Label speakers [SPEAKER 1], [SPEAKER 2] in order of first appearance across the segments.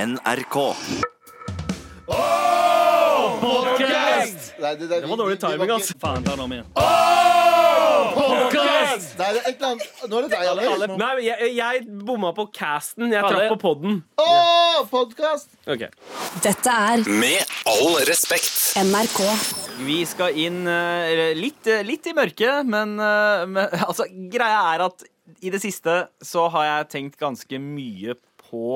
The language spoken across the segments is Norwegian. [SPEAKER 1] NRK.
[SPEAKER 2] Nei, det, det,
[SPEAKER 3] Det var dårlig timing, altså. ass. Faen, ta den om igjen.
[SPEAKER 2] Nei, det er et eller annet Nå er det deg, Alex.
[SPEAKER 4] Nei, men jeg, jeg bomma på casten. Jeg traff
[SPEAKER 3] det-
[SPEAKER 4] på podden.
[SPEAKER 2] Å, podkast!
[SPEAKER 4] Ok.
[SPEAKER 5] Dette er
[SPEAKER 1] Med all respekt.
[SPEAKER 5] NRK.
[SPEAKER 6] Vi skal inn eh, litt, litt i mørket, men, eh, men altså, greia er at i det siste så har jeg tenkt ganske mye på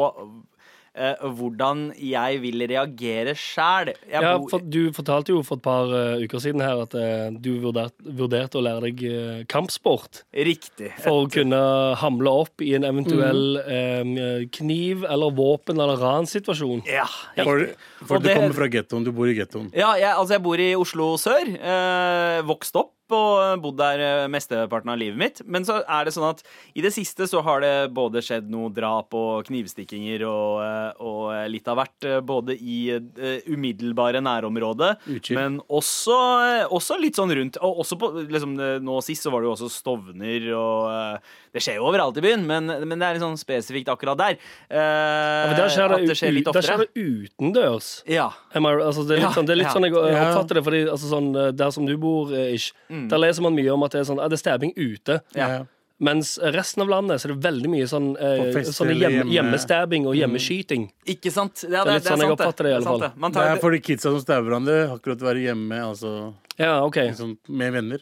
[SPEAKER 6] eh, hvordan jeg vil reagere sjæl.
[SPEAKER 3] Ja, for du fortalte jo for et par eh, uker siden her at eh, du vurderte vurderte å lære deg eh, kampsport
[SPEAKER 6] Riktig.
[SPEAKER 3] for å kunne hamle opp i en eventuell eh, kniv- eller våpen- eller ranssituasjon.
[SPEAKER 6] Ja,
[SPEAKER 7] For, for
[SPEAKER 6] Og
[SPEAKER 7] du
[SPEAKER 6] det-
[SPEAKER 7] kommer fra gettoen, du bor i gettoen.
[SPEAKER 6] Ja, jeg, altså jeg bor i Oslo sør. Eh, vokst opp og bodd der eh, mesteparten av livet mitt. Men så er det sånn at i det siste så har det både skjedd noe drap og knivstikkinger og, eh, og litt av hvert. eh, Både i eh, umiddelbare nærområde,
[SPEAKER 7] Utkyld.
[SPEAKER 6] men også, eh, også litt sånn rundt. Og også på, liksom, eh, nå sist så var det jo også Stovner og eh, Det skjer jo overalt i byen, men, men det er litt sånn spesifikt akkurat der. Eh,
[SPEAKER 3] Ja, men der skjer det,
[SPEAKER 6] at det skjer
[SPEAKER 3] u-
[SPEAKER 6] litt
[SPEAKER 3] der skjer
[SPEAKER 6] oftere.
[SPEAKER 3] det utendørs.
[SPEAKER 6] Ja.
[SPEAKER 3] Am I, altså det er litt,
[SPEAKER 6] Ja,
[SPEAKER 3] sånn, det er litt
[SPEAKER 6] ja.
[SPEAKER 3] sånn jeg eh,
[SPEAKER 7] Ja.
[SPEAKER 3] oppfatter det. Fordi altså sånn, eh, Der som du bor, eh, ish, der leser man mye om at det er sånn, ah, det er stabbing ute.
[SPEAKER 6] Ja.
[SPEAKER 3] Mens resten av landet så er det veldig mye sånn eh,
[SPEAKER 7] På fest
[SPEAKER 3] sånne
[SPEAKER 7] eller
[SPEAKER 3] hjemme,
[SPEAKER 7] hjemme-
[SPEAKER 3] hjemmestabbing og hjemmeskyting.
[SPEAKER 6] Ikke sant? Ja,
[SPEAKER 3] Det er litt sånn jeg
[SPEAKER 6] sant,
[SPEAKER 3] oppfatter det i alle
[SPEAKER 6] sant,
[SPEAKER 3] fall.
[SPEAKER 6] det. Man
[SPEAKER 7] Det
[SPEAKER 6] tar
[SPEAKER 7] er for de kidsa som stabber hverandre. Har akkurat vært hjemme altså,
[SPEAKER 3] Ja, ok
[SPEAKER 7] liksom, med venner.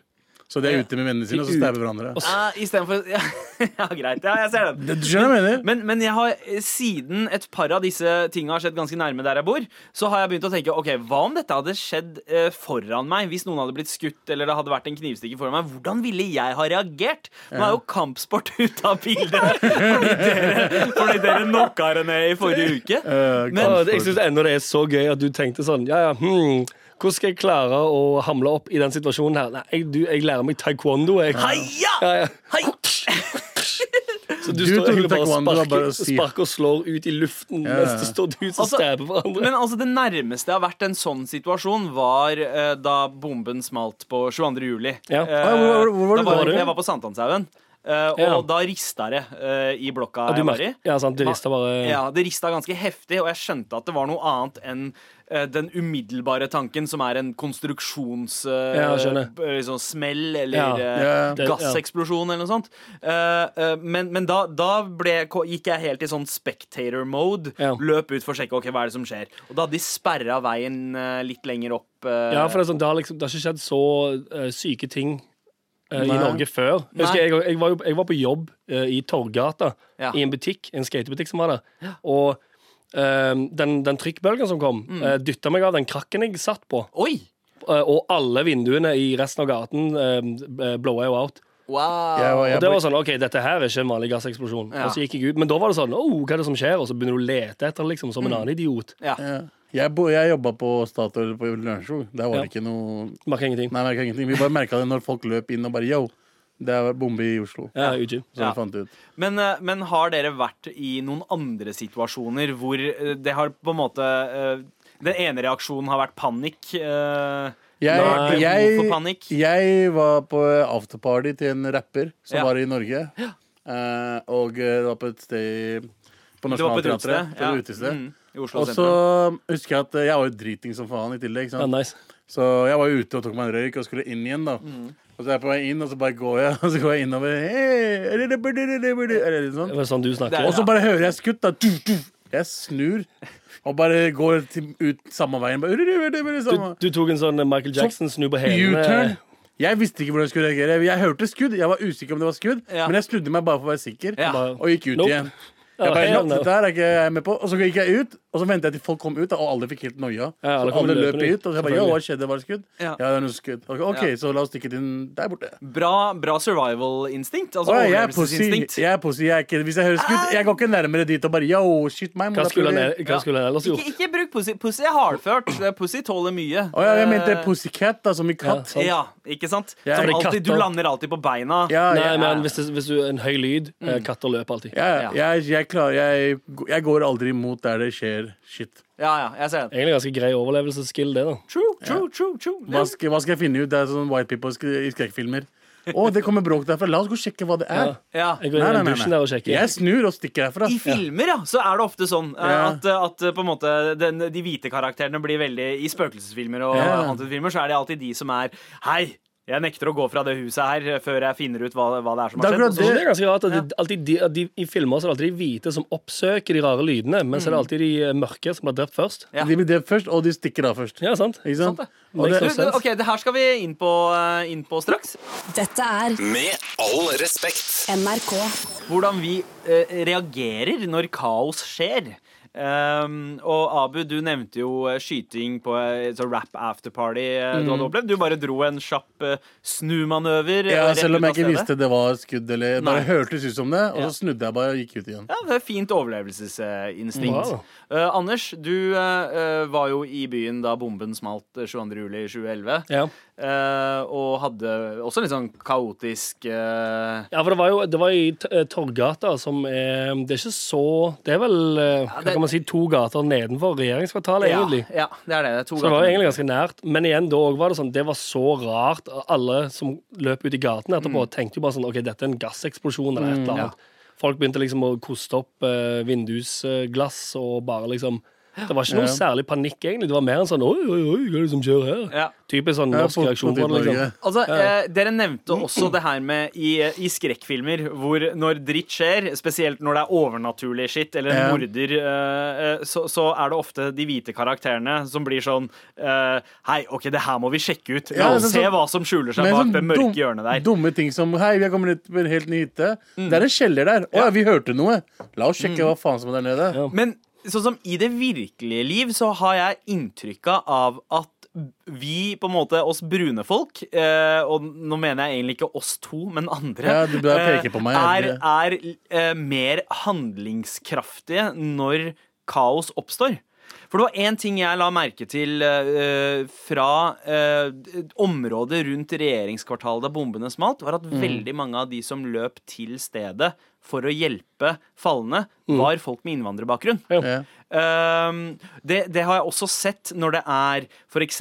[SPEAKER 7] Så de er ute med vennene sine, og så stabber hverandre.
[SPEAKER 6] Ah, Istedenfor ja, ja, greit. Ja, jeg ser den.
[SPEAKER 7] Du skjønner hva jeg mener?
[SPEAKER 6] Men, men jeg har, eh, siden et par av disse tinga har skjedd ganske nærme der jeg bor, så har jeg begynt å tenke ok, hva om dette hadde skjedd eh, foran meg? Hvis noen hadde blitt skutt eller det hadde vært en knivstikker foran meg, hvordan ville jeg ha reagert? Nå er jo kampsport ute av bildet fordi dere, fordi dere knocka det ned i forrige uke. Men-
[SPEAKER 7] Eh,
[SPEAKER 3] Ja,
[SPEAKER 7] kanskje
[SPEAKER 3] det- jeg syns ennå det er så gøy at du tenkte sånn Ja, ja, hmm, hvordan skal jeg klare å hamle opp i den situasjonen her? Nei, jeg, du, jeg lærer meg taekwondo, jeg.
[SPEAKER 6] Heia!
[SPEAKER 3] Ja, ja.
[SPEAKER 6] Hei!
[SPEAKER 3] Så du,
[SPEAKER 7] Du
[SPEAKER 3] står
[SPEAKER 7] trodde
[SPEAKER 3] egentlig bare og
[SPEAKER 7] taekwondo var
[SPEAKER 3] sparker,
[SPEAKER 7] bare å si.
[SPEAKER 3] sparker og slår ut i luften
[SPEAKER 7] Ja, ja.
[SPEAKER 3] mens det står du som
[SPEAKER 6] Altså,
[SPEAKER 3] stabber hverandre.
[SPEAKER 6] Men altså, det nærmeste jeg har vært en sånn situasjon, var eh, da bomben smalt på 22. juli.
[SPEAKER 3] Ja.
[SPEAKER 6] Eh,
[SPEAKER 7] Ah, hvor- hvor- hvor var
[SPEAKER 6] da
[SPEAKER 7] du da, du?
[SPEAKER 6] Jeg var på Sankthanshaugen, eh, og
[SPEAKER 3] Ja.
[SPEAKER 6] da rista det eh, i blokka
[SPEAKER 3] Ja, du
[SPEAKER 6] jeg var i.
[SPEAKER 3] merker, ja, sant, du rister bare
[SPEAKER 6] Ja, det rista ganske heftig, og jeg skjønte at det var noe annet enn eh, den umiddelbare tanken, som er en konstruksjons... eh,
[SPEAKER 3] Ja, jeg skjønner.
[SPEAKER 6] b- liksom smell eller
[SPEAKER 3] Ja.
[SPEAKER 6] eh,
[SPEAKER 7] Ja.
[SPEAKER 3] Det- ja.
[SPEAKER 6] gasseksplosjon eller noe sånt. Eh, eh, men men da, da ble, ko- gikk jeg helt i sånn spectator mode.
[SPEAKER 3] Ja.
[SPEAKER 6] Løp ut for å sjekke ok, hva er det som skjer. Og da hadde de sperra veien eh, litt lenger opp. eh,
[SPEAKER 3] Ja, for det, er sånn, det, har liksom, det har ikke skjedd så eh, syke ting eh, i
[SPEAKER 7] Nei.
[SPEAKER 3] Norge før. Jeg,
[SPEAKER 6] Nei.
[SPEAKER 3] husker, jeg, jeg, var, jo, jeg var på jobb eh, i Torggata,
[SPEAKER 6] Ja.
[SPEAKER 3] i en butikk, en skatebutikk som var der. Og eh, den, den trykkbølgen som kom, mm. dytta meg av den krakken jeg satt på.
[SPEAKER 6] Oi!
[SPEAKER 3] eh, og alle vinduene i resten av gaten uh, blowa jo out.
[SPEAKER 6] Wow.
[SPEAKER 7] Jeg var,
[SPEAKER 3] Og
[SPEAKER 7] jeg
[SPEAKER 3] det
[SPEAKER 7] bor-
[SPEAKER 3] var sånn, ok, dette her er ikke en vanlig gasseksplosjon.
[SPEAKER 6] Ja.
[SPEAKER 3] Og så gikk jeg ut, Men da var det sånn oh, hva er det som skjer? Og så begynner du å lete etter det, liksom, som en annen idiot.
[SPEAKER 6] Mm. Ja.
[SPEAKER 7] Ja. Jeg, bo- jeg jobba på Statoil på Lørenskog. Der var det ikke noe
[SPEAKER 3] Merker ingenting.
[SPEAKER 7] Nei, merket ingenting. Vi bare merka det når folk løp inn og bare yo, det er bombe i Oslo.
[SPEAKER 3] Ja, UG.
[SPEAKER 7] Så
[SPEAKER 6] Ja.
[SPEAKER 7] vi fant ut.
[SPEAKER 6] Men, eh, men har dere vært i noen andre situasjoner hvor eh, det har på en måte eh, Den ene reaksjonen har vært panikk. eh,
[SPEAKER 7] Jeg,
[SPEAKER 6] Nei. Hvorfor
[SPEAKER 7] jeg,
[SPEAKER 6] panikk?
[SPEAKER 7] jeg var på afterparty til en rapper som
[SPEAKER 6] Ja.
[SPEAKER 7] var i Norge. Eh, og eh, det var på et sted i- på
[SPEAKER 6] det var på et
[SPEAKER 7] Nationaltheatret.
[SPEAKER 6] utested.
[SPEAKER 7] På et
[SPEAKER 6] ja.
[SPEAKER 7] utested.
[SPEAKER 6] Mm, I Oslo
[SPEAKER 7] Og så
[SPEAKER 6] sentrum.
[SPEAKER 7] husker jeg at eh, jeg var jo driting som faen i tillegg. ikke
[SPEAKER 3] Ja,
[SPEAKER 7] Sant?
[SPEAKER 3] nice.
[SPEAKER 7] Så jeg var jo ute og tok meg en røyk og skulle inn igjen, da.
[SPEAKER 6] Mm.
[SPEAKER 7] Og så er jeg på vei inn, og så bare går jeg, og så går jeg innover. Hey, er det- er det- er det- er det- er det- er det litt sånn.
[SPEAKER 3] Det var sånn du
[SPEAKER 6] Det
[SPEAKER 3] snakker.
[SPEAKER 6] er-
[SPEAKER 7] Og så bare hører jeg skutt, da. Du, du. Jeg snur og bare går til, ut samme veien. Bare,
[SPEAKER 3] Du, du tok en sånn Michael Jackson snu på
[SPEAKER 7] U-turn.
[SPEAKER 3] hælene.
[SPEAKER 7] eh, Jeg visste ikke hvordan jeg skulle reagere. Jeg hørte skudd, jeg var usikker om det var skudd,
[SPEAKER 6] Ja.
[SPEAKER 7] men jeg snudde meg bare for å være sikker,
[SPEAKER 6] Ja.
[SPEAKER 3] Bare-
[SPEAKER 7] og gikk ut
[SPEAKER 3] Nope.
[SPEAKER 7] igjen.
[SPEAKER 3] Ja,
[SPEAKER 7] Jeg bare,
[SPEAKER 3] hell
[SPEAKER 7] «Ja,
[SPEAKER 3] no.
[SPEAKER 7] dette her er ikke jeg med på Og så gikk jeg ut, og så ventet jeg til folk kom ut, da, og alle fikk helt noia.
[SPEAKER 3] Ja, alle
[SPEAKER 7] så
[SPEAKER 3] kom
[SPEAKER 7] alle løp
[SPEAKER 3] løpende ut,
[SPEAKER 7] ut, og så jeg bare, ja,
[SPEAKER 3] selvfølgelig.
[SPEAKER 7] hva skjedde? Var det skudd? Ja,
[SPEAKER 6] Ja.
[SPEAKER 7] det er noe skudd. Ok, ok,
[SPEAKER 6] Ja.
[SPEAKER 7] så la oss stikke til den der borte.
[SPEAKER 6] Bra, bra survival-instinkt. Altså
[SPEAKER 7] Å, jeg er pussy.
[SPEAKER 6] overlevelsesinstinkt.
[SPEAKER 7] Jeg er pussy. Jeg er ikke, hvis jeg hører skudd, jeg går ikke nærmere dit og bare, yo, skyt meg.
[SPEAKER 3] Hva skulle han,
[SPEAKER 7] motherfucker».
[SPEAKER 3] hva skulle han ellers
[SPEAKER 6] Ikke,
[SPEAKER 3] gjort?
[SPEAKER 6] ikke bruk pussy. Pussy er hardført. Eh, Pussy tåler mye.
[SPEAKER 7] Å ja, jeg mente
[SPEAKER 6] Eh,
[SPEAKER 7] pussycat, da, som i katt.
[SPEAKER 3] sant.
[SPEAKER 6] Ja, ikke sant?
[SPEAKER 7] Ja,
[SPEAKER 6] Som
[SPEAKER 3] fordi
[SPEAKER 6] alltid, du
[SPEAKER 3] katter-
[SPEAKER 6] lander alltid på beina.
[SPEAKER 7] Ja,
[SPEAKER 3] Nei,
[SPEAKER 7] jeg-
[SPEAKER 3] men hvis, det, hvis du en høy lyd eh, Katter løper alltid.
[SPEAKER 7] ja, jeg, jeg, klarer, jeg, jeg går aldri imot der det skjer shit.
[SPEAKER 6] ja, ja jeg ser den.
[SPEAKER 3] Egentlig ganske grei overlevelsesskill, det, da.
[SPEAKER 6] True, true, true, true.
[SPEAKER 7] Hva skal, hva skal jeg finne ut? Det er sånn white people sk- i skrekkfilmer. Å, det kommer bråk derfra. La oss gå og sjekke hva det er.
[SPEAKER 6] Ja.
[SPEAKER 3] Jeg går inn i dusjen der og sjekker.
[SPEAKER 7] Jeg snur og stikker herfra.
[SPEAKER 6] I filmer ja, så er det ofte sånn eh,
[SPEAKER 7] Ja.
[SPEAKER 6] at, at eh, på en måte den, de hvite karakterene blir veldig I spøkelsesfilmer og
[SPEAKER 7] Ja.
[SPEAKER 6] haunted-filmer så er det alltid de som er Hei, jeg nekter å gå fra det huset her eh, før jeg finner ut hva, hva det er som
[SPEAKER 7] Det er
[SPEAKER 6] har skjedd.
[SPEAKER 7] akkurat
[SPEAKER 6] sånn,
[SPEAKER 3] Så det er ganske rart at det, alltid de, at de, I filmer så er det alltid de hvite som oppsøker de rare lydene, men så er det alltid de eh, mørke som blir drept først.
[SPEAKER 6] Ja.
[SPEAKER 7] De blir drept først, og de stikker av først.
[SPEAKER 3] Ja, sant?
[SPEAKER 7] Ikke sant? Og
[SPEAKER 3] Makes
[SPEAKER 7] det,
[SPEAKER 3] no
[SPEAKER 6] Du,
[SPEAKER 3] sense.
[SPEAKER 6] OK, det her skal vi inn på, eh, inn på straks.
[SPEAKER 5] Dette er
[SPEAKER 1] Med all respekt.
[SPEAKER 5] NRK.
[SPEAKER 6] Hvordan vi eh, reagerer når kaos skjer. Ehm, og Abu, du nevnte jo eh, skyting på eh, et sånt rap afterparty eh, du hadde opplevd. Du bare dro en kjapp eh, snumanøver.
[SPEAKER 7] ja,
[SPEAKER 6] eh, rett
[SPEAKER 7] selv om
[SPEAKER 6] ut
[SPEAKER 7] jeg
[SPEAKER 6] av
[SPEAKER 7] ikke
[SPEAKER 6] stedet.
[SPEAKER 7] visste det var skudd, eller bare
[SPEAKER 6] Nei.
[SPEAKER 7] hørtes ut som det, og
[SPEAKER 6] Ja.
[SPEAKER 7] så snudde jeg bare og gikk ut igjen.
[SPEAKER 6] Ja, det er fint overlevelsesinstinkt.
[SPEAKER 3] Wow.
[SPEAKER 6] Eh, Anders, du eh, eh, var jo i byen da bomben smalt eh, 22. juli 2011.
[SPEAKER 3] Ja.
[SPEAKER 6] eh, og hadde også litt sånn kaotisk eh,
[SPEAKER 3] ja, for det var jo det var i T- eh, Torggata, som er Det er ikke så Det er vel eh, hva
[SPEAKER 6] det-
[SPEAKER 3] kan man si, to gater nedenfor regjeringskvartalet, egentlig.
[SPEAKER 6] Ja, ja, det er det. det er to
[SPEAKER 3] Så det var jo
[SPEAKER 6] gater.
[SPEAKER 3] egentlig ganske nært. Men igjen, da var det sånn, det var så rart. Alle som løp ut i gaten etterpå, tenkte jo bare sånn OK, dette er en gasseksplosjon eller et eller annet. Folk begynte liksom å koste opp eh, vindusglass og bare liksom Det var ikke noe særlig panikk, egentlig. Det var mer en sånn oi, oi, oi, hva er det som skjer her?
[SPEAKER 6] Ja.
[SPEAKER 3] Typisk sånn
[SPEAKER 7] Jeg
[SPEAKER 3] norsk
[SPEAKER 7] har fått-
[SPEAKER 3] reaksjon
[SPEAKER 7] fått
[SPEAKER 3] på det,
[SPEAKER 7] i Norge.
[SPEAKER 3] liksom.
[SPEAKER 6] Altså, eh, Dere nevnte
[SPEAKER 7] Mm.
[SPEAKER 6] også det her med i, eh, i skrekkfilmer hvor når dritt skjer, spesielt når det er overnaturlig shit eller en
[SPEAKER 7] Ja.
[SPEAKER 6] morder, eh, eh, så, så er det ofte de hvite karakterene som blir sånn eh, Hei, OK, det her må vi sjekke ut. La
[SPEAKER 7] Ja,
[SPEAKER 6] oss se
[SPEAKER 7] det er sånn-
[SPEAKER 6] hva som skjuler seg
[SPEAKER 7] Men
[SPEAKER 6] bak
[SPEAKER 7] sånn
[SPEAKER 6] det
[SPEAKER 7] dum-
[SPEAKER 6] mørke hjørnet der. Mm.
[SPEAKER 7] Dumme ting som Hei, vi har kommet ut på en helt ny hytte. Det er en kjeller der. Å ja, vi hørte noe. La oss sjekke hva faen som er der nede.
[SPEAKER 6] Men sånn som i det virkelige liv så har jeg inntrykka av at vi, på en måte, oss brune folk, eh, og nå mener jeg egentlig ikke oss to, men andre,
[SPEAKER 7] Ja, du bare peker på meg,
[SPEAKER 6] eh, er, er eh, mer handlingskraftige når kaos oppstår. For det var én ting jeg la merke til eh, fra eh, området rundt regjeringskvartalet da bombene smalt, var at veldig mange av de som løp til stedet for å hjelpe falne, var folk med innvandrerbakgrunn.
[SPEAKER 7] Ja.
[SPEAKER 6] Ehm, det, det har jeg også sett når det er f.eks.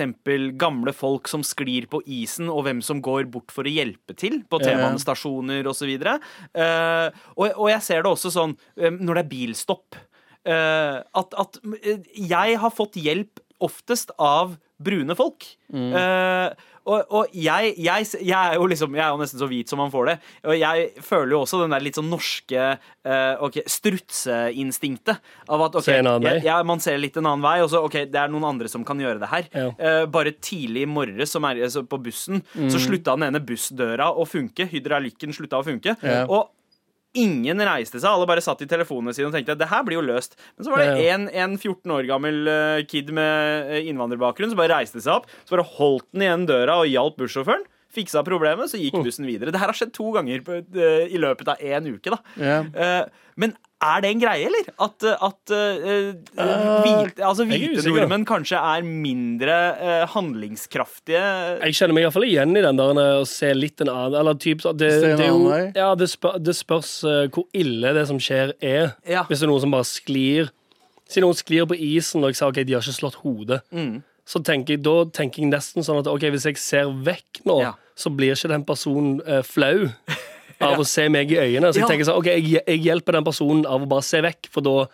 [SPEAKER 6] gamle folk som sklir på isen, og hvem som går bort for å hjelpe til på T-banestasjoner osv. Uh, og, og jeg ser det også sånn eh, når det er bilstopp. Eh, at, at eh, jeg har fått hjelp oftest av brune folk. Eh, og og jeg, jeg, s- jeg er jo liksom Jeg er jo nesten så hvit som man får det. Og jeg føler jo også den der litt sånn norske eh, ok, strutseinstinktet. Av at ok,
[SPEAKER 3] Se en annen
[SPEAKER 6] jeg,
[SPEAKER 3] vei.
[SPEAKER 6] ja, man ser litt en annen vei, og så OK, det er noen andre som kan gjøre det her.
[SPEAKER 3] Ja.
[SPEAKER 6] Eh, bare tidlig i morges som er altså, på bussen,
[SPEAKER 3] Mm.
[SPEAKER 6] så slutta den ene bussdøra å funke. Hydraulikken slutta å funke.
[SPEAKER 7] Ja.
[SPEAKER 6] Og Ingen reiste seg, alle bare satt i telefonene sine og tenkte det her blir jo løst. Men så var det
[SPEAKER 3] Ja.
[SPEAKER 6] en, en 14 år gammel eh, kid med eh, innvandrerbakgrunn som bare reiste seg opp, så bare holdt den igjen døra og hjalp bussjåføren. Fiksa problemet, så
[SPEAKER 3] Oh.
[SPEAKER 6] gikk bussen videre. Det her har skjedd to ganger på, eh, i løpet av én uke. da
[SPEAKER 7] Ja.
[SPEAKER 6] Eh, Men er det en greie, eller? At, eh, at eh, hvite, altså,
[SPEAKER 3] jeg er
[SPEAKER 6] hvite
[SPEAKER 3] usikker.
[SPEAKER 6] nordmenn kanskje er mindre eh, handlingskraftige?
[SPEAKER 3] Jeg kjenner meg iallfall igjen i den der eh, å se litt en annen Eller typ, så- det,
[SPEAKER 7] Se en
[SPEAKER 3] det, er jo,
[SPEAKER 7] annen vei.
[SPEAKER 3] ja, det, spør, det spørs eh, hvor ille det som skjer, er.
[SPEAKER 6] Ja.
[SPEAKER 3] Hvis det er noen som bare sklir Si noen sklir på isen, og jeg sa ok, de har ikke slått hodet.
[SPEAKER 6] Mm.
[SPEAKER 3] Så tenker jeg, Da tenker jeg nesten sånn at ok, hvis jeg ser vekk nå,
[SPEAKER 6] Ja.
[SPEAKER 3] så blir ikke den personen eh, flau av å se meg i øynene. Så jeg
[SPEAKER 6] Ja.
[SPEAKER 3] tenker sånn, ok, jeg, jeg hjelper den personen av å bare se vekk, for da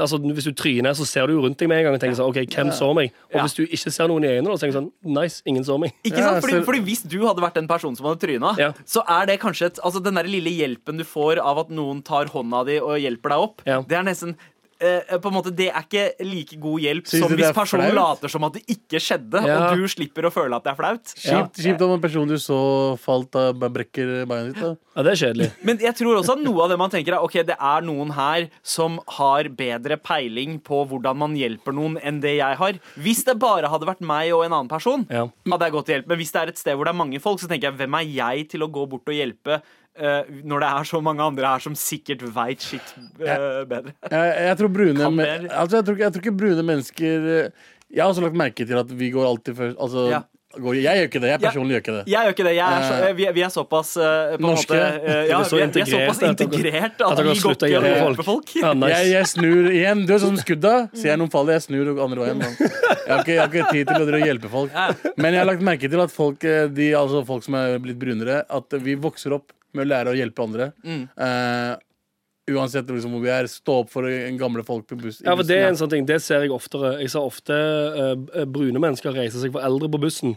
[SPEAKER 3] altså, Hvis du tryner, så ser du jo rundt deg med en gang og tenker sånn, ok, hvem så meg? Og
[SPEAKER 6] Ja.
[SPEAKER 3] hvis du ikke ser noen i øynene, da, så tenker jeg sånn, nice, ingen så meg.
[SPEAKER 6] Ikke
[SPEAKER 7] Ja,
[SPEAKER 6] sant? Fordi,
[SPEAKER 7] så-
[SPEAKER 6] fordi Hvis du hadde vært den personen som hadde tryna,
[SPEAKER 3] Ja.
[SPEAKER 6] så er det kanskje et, altså den der lille hjelpen du får av at noen tar hånda di og hjelper deg opp,
[SPEAKER 3] Ja.
[SPEAKER 6] det er nesten eh, på en måte, Det er ikke like god hjelp
[SPEAKER 7] Synes
[SPEAKER 6] som
[SPEAKER 7] du det
[SPEAKER 6] hvis
[SPEAKER 7] er
[SPEAKER 6] personen
[SPEAKER 7] flaut?
[SPEAKER 6] later som at det ikke skjedde,
[SPEAKER 3] Ja.
[SPEAKER 6] og du slipper å føle at det er flaut.
[SPEAKER 7] Kjipt, kjipt om en person du så falt av brekker beinet ditt. Da.
[SPEAKER 3] Ja, det er kjedelig.
[SPEAKER 6] Men jeg tror også at noe av det man tenker er Ok, det er noen her som har bedre peiling på hvordan man hjelper noen enn det jeg har. Hvis det bare hadde vært meg og en annen person,
[SPEAKER 3] Ja.
[SPEAKER 6] hadde jeg gått til hjelp. Men hvis det er et sted hvor det er mange folk, så tenker jeg hvem er jeg til å gå bort og hjelpe? eh, når det er så mange andre her som sikkert veit shit eh, bedre.
[SPEAKER 7] Jeg, jeg, tror brune,
[SPEAKER 6] Kan
[SPEAKER 7] men-
[SPEAKER 6] mer.
[SPEAKER 7] altså, jeg, tror, ikke- jeg tror ikke brune mennesker eh, Jeg har også lagt merke til at vi går alltid først. Altså,
[SPEAKER 6] Ja.
[SPEAKER 7] Går, jeg gjør ikke det. Jeg personlig gjør ikke det.
[SPEAKER 6] Jeg gjør ikke det. Jeg er så,
[SPEAKER 7] Eh,
[SPEAKER 6] vi, vi er såpass eh, på en
[SPEAKER 7] Norske.
[SPEAKER 6] måte, eh, ja,
[SPEAKER 3] Dere er så
[SPEAKER 6] vi, er, vi er såpass
[SPEAKER 3] integrerte at dere-
[SPEAKER 6] integrert
[SPEAKER 3] at
[SPEAKER 6] at
[SPEAKER 3] dere
[SPEAKER 6] vi
[SPEAKER 3] har
[SPEAKER 6] går
[SPEAKER 3] sluttet å
[SPEAKER 6] ikke og
[SPEAKER 3] hjelpe
[SPEAKER 6] hjelper folk.
[SPEAKER 3] Ja, nice.
[SPEAKER 7] Jeg, jeg snur igjen. Du er sånn som skudda. Sier jeg noen faller, jeg snur og andre veien. da. Jeg har ikke, jeg har ikke tid til å dra og hjelpe folk. Men jeg har lagt merke til at folk, eh, de, altså folk som er blitt brunere, at vi vokser opp med å lære å hjelpe andre.
[SPEAKER 6] Mm.
[SPEAKER 7] Eh, uansett liksom, hvor vi er. Stå opp for en gamle folk på buss. i
[SPEAKER 3] Ja, for Det er en
[SPEAKER 7] bussen,
[SPEAKER 3] sånn ting, det ser jeg oftere. Jeg ser ofte eh, brune mennesker reise seg for eldre på bussen.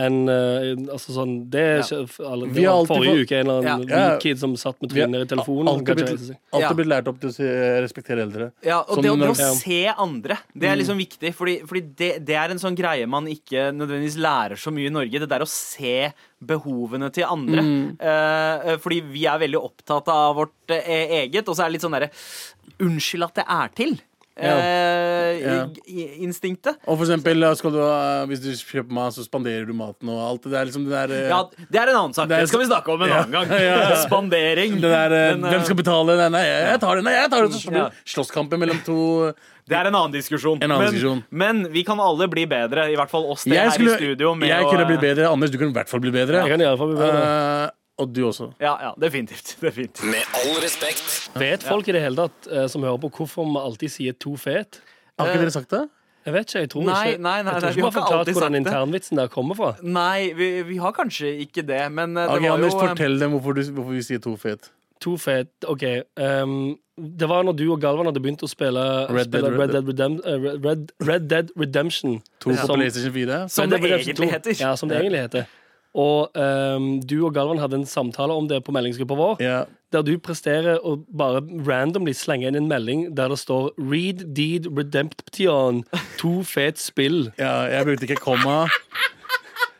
[SPEAKER 3] enn, eh, altså sånn, det er ikke f- alle,
[SPEAKER 7] Mm. Vi
[SPEAKER 3] det
[SPEAKER 7] har
[SPEAKER 3] var
[SPEAKER 7] alltid
[SPEAKER 3] Forrige
[SPEAKER 7] fått-
[SPEAKER 3] uke en eller annen
[SPEAKER 7] Ja.
[SPEAKER 3] weak kid som satt med
[SPEAKER 7] Vi har
[SPEAKER 3] trynet ned sånn i telefonen. og
[SPEAKER 7] alltid
[SPEAKER 3] kan ikke
[SPEAKER 7] blitt,
[SPEAKER 3] reise seg.
[SPEAKER 7] alltid
[SPEAKER 6] Ja.
[SPEAKER 7] blitt lært opp til å si, eh, respektere eldre.
[SPEAKER 6] Ja, og
[SPEAKER 7] Som
[SPEAKER 6] det, å- det å
[SPEAKER 7] når- Ja.
[SPEAKER 6] se andre, det er liksom viktig. Fordi, fordi det, det er en sånn greie man ikke nødvendigvis lærer så mye i Norge. Det der å se behovene til andre.
[SPEAKER 7] Mm.
[SPEAKER 6] Eh, eh, fordi vi er veldig opptatt av vårt eh, eget, og så er det litt sånn derre Unnskyld at det er til. eh,
[SPEAKER 7] Ja.
[SPEAKER 6] i- i- Instinktet.
[SPEAKER 7] Og for eksempel, eh, skal du, ha- hvis du kjøper mat, så spanderer du maten og alt det der. Liksom det der eh,
[SPEAKER 6] Ja, det er en annen sak.
[SPEAKER 7] er-
[SPEAKER 6] Det skal vi snakke om en annen gang. Spandering.
[SPEAKER 7] Det der, eh,
[SPEAKER 6] Men, eh,
[SPEAKER 7] Hvem skal betale? Nei, nei, jeg jeg tar det! Nei, jeg tar det. Så blir
[SPEAKER 6] Ja.
[SPEAKER 7] det Slåsskampen mellom to
[SPEAKER 6] Det er en annen diskusjon.
[SPEAKER 7] En annen
[SPEAKER 6] men,
[SPEAKER 7] diskusjon.
[SPEAKER 6] men vi kan alle bli bedre, i hvert fall oss det
[SPEAKER 7] Jeg,
[SPEAKER 6] her
[SPEAKER 7] skulle,
[SPEAKER 6] i studio. med
[SPEAKER 7] jeg
[SPEAKER 6] å-
[SPEAKER 7] kunne blitt bedre. Anders, du kunne i hvert fall blitt
[SPEAKER 3] Jeg
[SPEAKER 7] bedre.
[SPEAKER 3] kan i alle fall bli bedre.
[SPEAKER 7] Eh, og du også.
[SPEAKER 6] Ja, ja, definitivt. definitivt.
[SPEAKER 1] Med all respekt.
[SPEAKER 3] Vet folk i det hele tatt eh, som hører på, hvorfor vi alltid sier to fet?
[SPEAKER 7] Har
[SPEAKER 6] Eh,
[SPEAKER 7] ikke dere sagt det?
[SPEAKER 3] Jeg vet ikke. Jeg tror
[SPEAKER 6] Nei,
[SPEAKER 3] ikke
[SPEAKER 6] nei, nei,
[SPEAKER 3] Jeg
[SPEAKER 6] nei,
[SPEAKER 3] tror
[SPEAKER 6] vi
[SPEAKER 3] ikke vi
[SPEAKER 6] har
[SPEAKER 3] har
[SPEAKER 6] ikke
[SPEAKER 3] fortalt
[SPEAKER 6] alltid
[SPEAKER 3] hvor
[SPEAKER 6] sagt
[SPEAKER 3] den
[SPEAKER 6] det.
[SPEAKER 3] internvitsen der kommer fra.
[SPEAKER 6] Nei, vi, vi har kanskje ikke det, men eh, det
[SPEAKER 7] Ok,
[SPEAKER 6] var
[SPEAKER 7] Anders,
[SPEAKER 6] jo eh,
[SPEAKER 7] fortell dem hvorfor, du, hvorfor vi sier to fet.
[SPEAKER 3] To fet, OK. ehm, det var når du og Galvan hadde begynt å spille
[SPEAKER 7] Red
[SPEAKER 3] spille
[SPEAKER 7] Dead
[SPEAKER 3] Red, Dead Redem, eh, Red, Red, Red Dead Redemption.
[SPEAKER 7] To på
[SPEAKER 3] Som-
[SPEAKER 7] PlayStation 4.
[SPEAKER 6] Som
[SPEAKER 3] Red Dead
[SPEAKER 6] det
[SPEAKER 3] Redemption
[SPEAKER 6] egentlig
[SPEAKER 3] 2.
[SPEAKER 6] heter.
[SPEAKER 3] Ja, som det egentlig heter. Og ehm, du og Galvan hadde en samtale om det på meldingsgruppa vår.
[SPEAKER 7] Ja.
[SPEAKER 3] der du presterer å bare randomly slenge inn en melding der det står 'Read Deed Redemption'. To fet spill.
[SPEAKER 7] ja, jeg brukte ikke komma.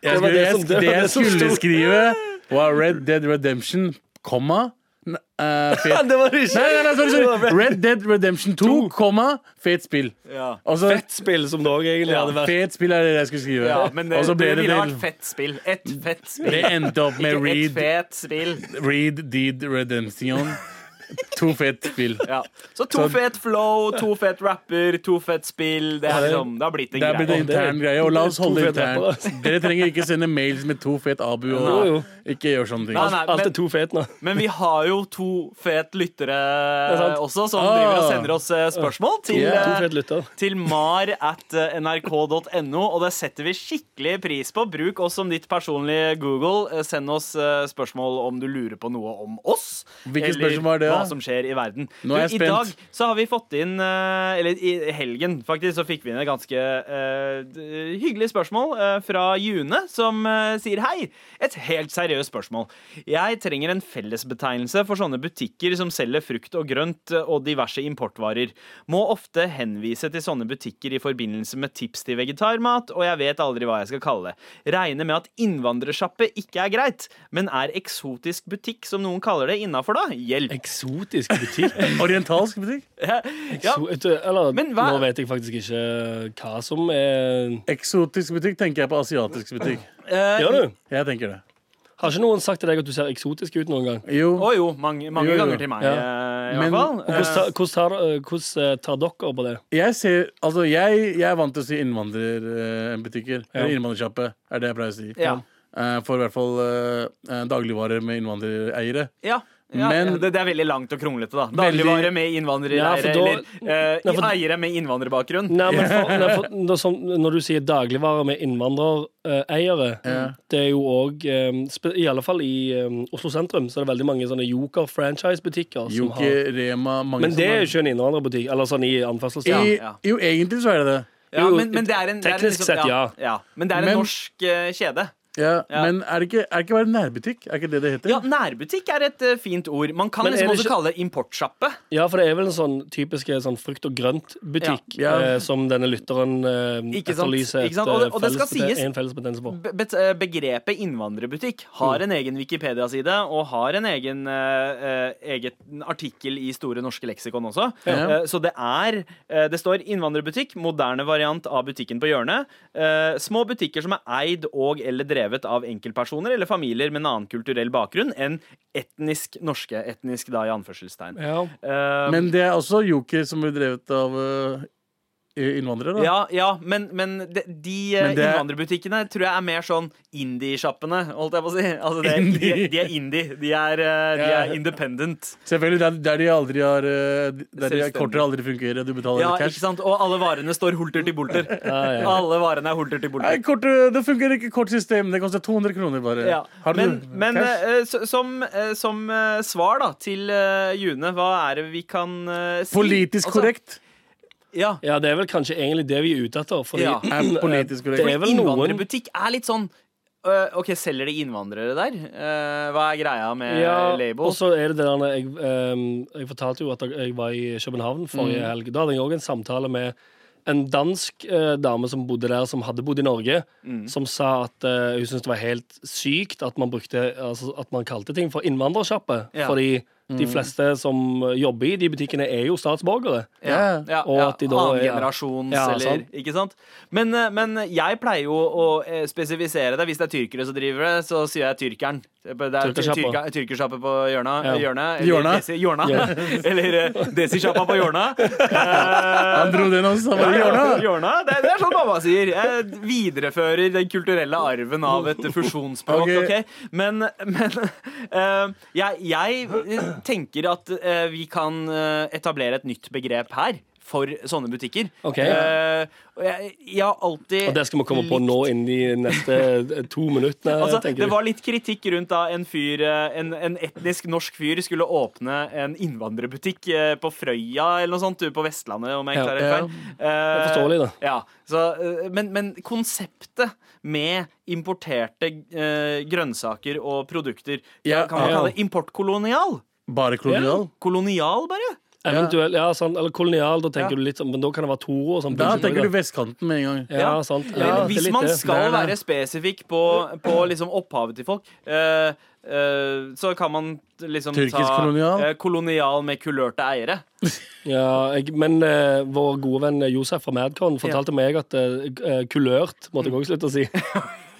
[SPEAKER 7] Jeg
[SPEAKER 3] Det var
[SPEAKER 7] skulle,
[SPEAKER 3] det
[SPEAKER 7] jeg,
[SPEAKER 3] som- det var
[SPEAKER 7] det jeg
[SPEAKER 3] det som
[SPEAKER 7] skulle
[SPEAKER 3] sto.
[SPEAKER 7] skrive, var Red Dead Redemption, komma n- eh, fet.
[SPEAKER 6] Det var ikke
[SPEAKER 7] Nei, nei, nei, sorry, sorry. Red Dead Redemption 2, komma, fet spill.
[SPEAKER 6] Ja.
[SPEAKER 7] Altså,
[SPEAKER 3] Fett spill som det òg egentlig hadde vært.
[SPEAKER 7] Fet spill er det jeg skulle skrive.
[SPEAKER 6] Ja, men eh, det,
[SPEAKER 7] og så ble
[SPEAKER 6] det
[SPEAKER 7] det
[SPEAKER 6] ville
[SPEAKER 7] til
[SPEAKER 6] vært fett spill. Et fett spill.
[SPEAKER 7] Det endte opp med
[SPEAKER 6] Ikke et
[SPEAKER 7] Read,
[SPEAKER 6] fet spill.
[SPEAKER 7] read Deed Redemption. To fett spill.
[SPEAKER 6] Ja. Så to
[SPEAKER 7] Så-
[SPEAKER 6] fet flow, to fet rapper, to fet spill. Det, er liksom, det har blitt en
[SPEAKER 7] Det er blitt en
[SPEAKER 6] greie.
[SPEAKER 7] intern greie, og la oss holde det
[SPEAKER 3] To altså. fett rapper,
[SPEAKER 7] internt. Dere trenger ikke sende mails med to fett abu
[SPEAKER 3] Jo,
[SPEAKER 7] og
[SPEAKER 3] jo.
[SPEAKER 7] ikke gjør sånne ting.
[SPEAKER 6] Nei, nei,
[SPEAKER 3] Alt er
[SPEAKER 6] men-
[SPEAKER 3] to fet nå.
[SPEAKER 6] Men vi har jo to fet lyttere
[SPEAKER 3] sant.
[SPEAKER 6] også, som
[SPEAKER 7] Ah.
[SPEAKER 6] driver og sender oss eh, spørsmål til,
[SPEAKER 7] Ja.
[SPEAKER 3] To
[SPEAKER 6] eh,
[SPEAKER 3] fet lytter.
[SPEAKER 6] til mar at eh, nrk.no, og det setter vi skikkelig pris på. Bruk oss som ditt personlige Google. Eh, Send oss eh, spørsmål om du lurer på noe om oss.
[SPEAKER 7] Hvilke spørsmål er det, da?
[SPEAKER 6] hva som skjer i verden.
[SPEAKER 7] Nå er jeg
[SPEAKER 6] I
[SPEAKER 7] spent.
[SPEAKER 6] dag så har vi fått inn, eh, eller i helgen faktisk, så fikk vi inn et ganske eh, d- hyggelig spørsmål eh, fra June, som eh, sier hei. Et helt seriøst spørsmål. Jeg trenger en fellesbetegnelse for sånne butikker som selger frukt og grønt eh, og diverse importvarer. Må ofte henvise til sånne butikker i forbindelse med tips til vegetarmat, og jeg vet aldri hva jeg skal kalle det. Regner med at innvandrersjappe ikke er greit, men er eksotisk butikk, som noen kaller det, innafor da? Hjelp.
[SPEAKER 3] Eksotisk butikk.
[SPEAKER 7] Orientalsk butikk?
[SPEAKER 6] Ja.
[SPEAKER 3] Ekso- vet du, eh, Eller
[SPEAKER 6] Men hva-
[SPEAKER 3] nå vet jeg faktisk ikke eh, hva som er
[SPEAKER 7] Eksotisk butikk tenker jeg på asiatisk butikk.
[SPEAKER 6] Eh,
[SPEAKER 3] Gjør du?
[SPEAKER 7] Jeg tenker det.
[SPEAKER 3] Har ikke noen sagt til deg at du ser eksotisk ut noen gang?
[SPEAKER 7] Jo,
[SPEAKER 6] Å jo, mange, mange
[SPEAKER 7] Jo, jo.
[SPEAKER 6] ganger til meg,
[SPEAKER 3] Ja.
[SPEAKER 6] eh, i
[SPEAKER 7] Men-
[SPEAKER 6] hvert fall.
[SPEAKER 3] Hvordan tar- hvordan tar, eh, hvordan, eh, tar dere på det?
[SPEAKER 7] jeg ser Altså, jeg, jeg er vant til å si innvandrerbutikker. Eller innvandrersjappe, er det jeg pleier å si.
[SPEAKER 6] Ja.
[SPEAKER 7] Eh, For i hvert fall eh, dagligvarer med innvandrereiere.
[SPEAKER 6] Ja. Ja,
[SPEAKER 7] Men-
[SPEAKER 6] ja, det, det er veldig langt og kronglete, da.
[SPEAKER 7] Veldig-
[SPEAKER 6] Dagligvare med innvandrere
[SPEAKER 3] Ja, for da-
[SPEAKER 6] eller eh,
[SPEAKER 3] Nei, for-
[SPEAKER 6] eiere med innvandrerbakgrunn.
[SPEAKER 3] Nei, men for, nei, for, når, som, når du sier dagligvarer med innvandrereiere, det er jo òg I alle fall i eh, Oslo sentrum så er det veldig mange sånne Joker-franchise-butikker. som
[SPEAKER 7] Joki,
[SPEAKER 3] har-
[SPEAKER 7] Rema, mange
[SPEAKER 3] Men det er
[SPEAKER 7] sånne.
[SPEAKER 3] jo ikke en innvandrerbutikk. Eller sånn i anførselstegn.
[SPEAKER 7] I,
[SPEAKER 6] Ja.
[SPEAKER 7] Jo, egentlig så er det det.
[SPEAKER 6] Ja,
[SPEAKER 3] Jo,
[SPEAKER 6] men, men det er en, det er en liksom-
[SPEAKER 3] teknisk sett,
[SPEAKER 6] ja, ja.
[SPEAKER 3] ja.
[SPEAKER 6] Men det er en
[SPEAKER 7] Men-
[SPEAKER 6] norsk eh, kjede.
[SPEAKER 7] Ja,
[SPEAKER 6] Ja.
[SPEAKER 7] Men er det, ikke, er det ikke bare nærbutikk? Er ikke det det heter?
[SPEAKER 6] Ja, nærbutikk er et eh, fint ord. Man kan
[SPEAKER 3] Men er
[SPEAKER 6] liksom
[SPEAKER 3] det
[SPEAKER 6] også
[SPEAKER 3] ikke-
[SPEAKER 6] kalle det importsjappe.
[SPEAKER 3] Ja, for det er vel en sånn typisk eh, sånn frukt og grønt-butikk
[SPEAKER 7] Ja. Ja.
[SPEAKER 3] eh, som denne lytteren eh,
[SPEAKER 6] Ikke sant?
[SPEAKER 3] etterlyser
[SPEAKER 6] Ikke sant? Og det- og det skal
[SPEAKER 3] fellesbete-
[SPEAKER 6] sies-
[SPEAKER 3] en fellesbetegnelse på. Mm.
[SPEAKER 6] Be bet- eh, begrepet innvandrerbutikk har en egen Wikipedia-side og har en egen eh, eh, eget artikkel i Store norske leksikon også.
[SPEAKER 7] Ja.
[SPEAKER 6] Eh, så det er eh, Det står innvandrerbutikk, moderne variant av butikken på hjørnet. Eh, små butikker som er eid og eller drevet av enkeltpersoner eller familier med en annen kulturell bakgrunn enn etnisk norske. Etnisk da i anførselstegn.
[SPEAKER 3] Ja.
[SPEAKER 6] Eh,
[SPEAKER 7] Men det er også Joker som blir drevet av eh, eh, innvandrere, da.
[SPEAKER 6] Ja, ja, men, men de, de eh,
[SPEAKER 7] Men det-
[SPEAKER 6] innvandrerbutikkene tror jeg er mer sånn indie-sjappene, holdt jeg på å si. Altså, det, er- de,
[SPEAKER 7] Indie.
[SPEAKER 6] de er indie. De er, eh, de
[SPEAKER 7] Ja.
[SPEAKER 6] er independent.
[SPEAKER 7] Selvfølgelig. Der, der de aldri har eh, Der de
[SPEAKER 6] Selvstendig.
[SPEAKER 7] kortere aldri fungerer, og du betaler
[SPEAKER 6] Ja, ikke
[SPEAKER 7] cash.
[SPEAKER 6] sant? Og alle varene står holter til bolter. Alle varene er holter til bolter.
[SPEAKER 7] Nei, kort, eh, det fungerer ikke kortsystem. Det koster 200 kroner bare.
[SPEAKER 6] Ja.
[SPEAKER 7] Har du
[SPEAKER 6] Men, men
[SPEAKER 7] cash?
[SPEAKER 6] eh, så- som, eh, som eh, svar da til eh, June, hva er det vi kan eh, si?
[SPEAKER 7] Politisk
[SPEAKER 6] Altså,
[SPEAKER 7] korrekt.
[SPEAKER 6] Ja.
[SPEAKER 3] Ja, det er vel kanskje egentlig det vi er ute etter. Fordi
[SPEAKER 6] Ja.
[SPEAKER 7] Er politisk
[SPEAKER 3] det
[SPEAKER 7] korrekt.
[SPEAKER 3] er vel noen
[SPEAKER 6] Innvandrerbutikk er litt sånn øh, OK, selger de innvandrere der? Eh, hva er greia med
[SPEAKER 3] ja, Og
[SPEAKER 6] labels?
[SPEAKER 3] så er det det der jeg, ehm, jeg fortalte jo at jeg var i København
[SPEAKER 6] Mm.
[SPEAKER 3] forrige helg. Da hadde jeg òg en samtale med en dansk eh, dame som bodde der, som hadde bodd i Norge,
[SPEAKER 6] Mm.
[SPEAKER 3] som sa at eh, hun syntes det var helt sykt at man brukte altså, At man kalte ting for innvandrersjappe.
[SPEAKER 6] Ja. Mm.
[SPEAKER 3] Fordi de fleste som jobber i de butikkene, er jo statsborgere.
[SPEAKER 6] Ja, ja,
[SPEAKER 3] Og
[SPEAKER 6] ja,
[SPEAKER 3] at de da
[SPEAKER 6] Annen
[SPEAKER 3] er- ja.
[SPEAKER 6] generasjons,
[SPEAKER 3] Ja,
[SPEAKER 6] eller
[SPEAKER 3] sant.
[SPEAKER 6] Ikke sant? Men, eh, men jeg pleier jo å eh, spesifisere det. Hvis det er tyrkere som driver det, så sier jeg tyrkeren. Det er
[SPEAKER 3] Tyrkersjappa.
[SPEAKER 6] tyrka- Tyrkersjappe på hjørnet.
[SPEAKER 3] Ja.
[SPEAKER 6] hjørnet,
[SPEAKER 7] Hjørnet.
[SPEAKER 6] eller desi- hjørnet. Eller eh, desisjappa på hjørnet. Eh,
[SPEAKER 7] Han dro den også.
[SPEAKER 3] altså,
[SPEAKER 7] Han bare,
[SPEAKER 6] Hjørnet.
[SPEAKER 7] Hjørne!
[SPEAKER 6] Det, er- det er sånn mamma sier. Jeg viderefører den kulturelle arven av et fusjonsspråk.
[SPEAKER 7] Ok.
[SPEAKER 6] ok? Men, men eh, jeg, jeg tenker at eh, vi kan eh, etablere et nytt begrep her. For sånne butikker.
[SPEAKER 3] Ok.
[SPEAKER 6] Eh, og jeg, jeg har alltid
[SPEAKER 3] Og det skal vi komme på
[SPEAKER 6] likt-
[SPEAKER 3] nå innen de neste eh, to minuttene.
[SPEAKER 6] Altså,
[SPEAKER 3] tenker
[SPEAKER 6] det
[SPEAKER 3] du.
[SPEAKER 6] var litt kritikk rundt da en fyr, eh, en, en etnisk norsk fyr skulle åpne en innvandrerbutikk eh, på Frøya eller noe sånt, du, på Vestlandet, om jeg
[SPEAKER 3] Ja,
[SPEAKER 6] klarer det
[SPEAKER 7] ja.
[SPEAKER 6] feil.
[SPEAKER 3] er
[SPEAKER 6] Eh,
[SPEAKER 3] forståelig, da.
[SPEAKER 6] Ja, så, eh, men, men konseptet med importerte eh, grønnsaker og produkter,
[SPEAKER 7] Ja,
[SPEAKER 6] kan man
[SPEAKER 3] ja.
[SPEAKER 6] kalle det importkolonial?
[SPEAKER 7] Bare kolonial?
[SPEAKER 6] Kolonial, bare?
[SPEAKER 3] Eventuell, ja, sant, eller kolonial, da tenker
[SPEAKER 6] Ja.
[SPEAKER 3] du litt sånn, men da kan det være to ord. Sånn,
[SPEAKER 7] Da
[SPEAKER 3] bullshit,
[SPEAKER 7] tenker
[SPEAKER 3] da.
[SPEAKER 7] du vestkanten med en gang.
[SPEAKER 3] Ja, sant.
[SPEAKER 6] Men
[SPEAKER 3] Ja, det er
[SPEAKER 6] hvis
[SPEAKER 3] litt
[SPEAKER 6] man
[SPEAKER 3] det.
[SPEAKER 6] skal
[SPEAKER 7] Det er
[SPEAKER 6] være
[SPEAKER 7] det.
[SPEAKER 6] spesifikk på, på liksom opphavet til folk, eh, eh, så kan man t- liksom
[SPEAKER 7] Tyrkisk
[SPEAKER 6] ta
[SPEAKER 7] kolonial?
[SPEAKER 6] eh, kolonial med kulørte eiere.
[SPEAKER 3] Ja, jeg, men eh, vår gode venn Josef fra Madcon fortalte meg at eh, kulørt måtte jeg også slutte å si.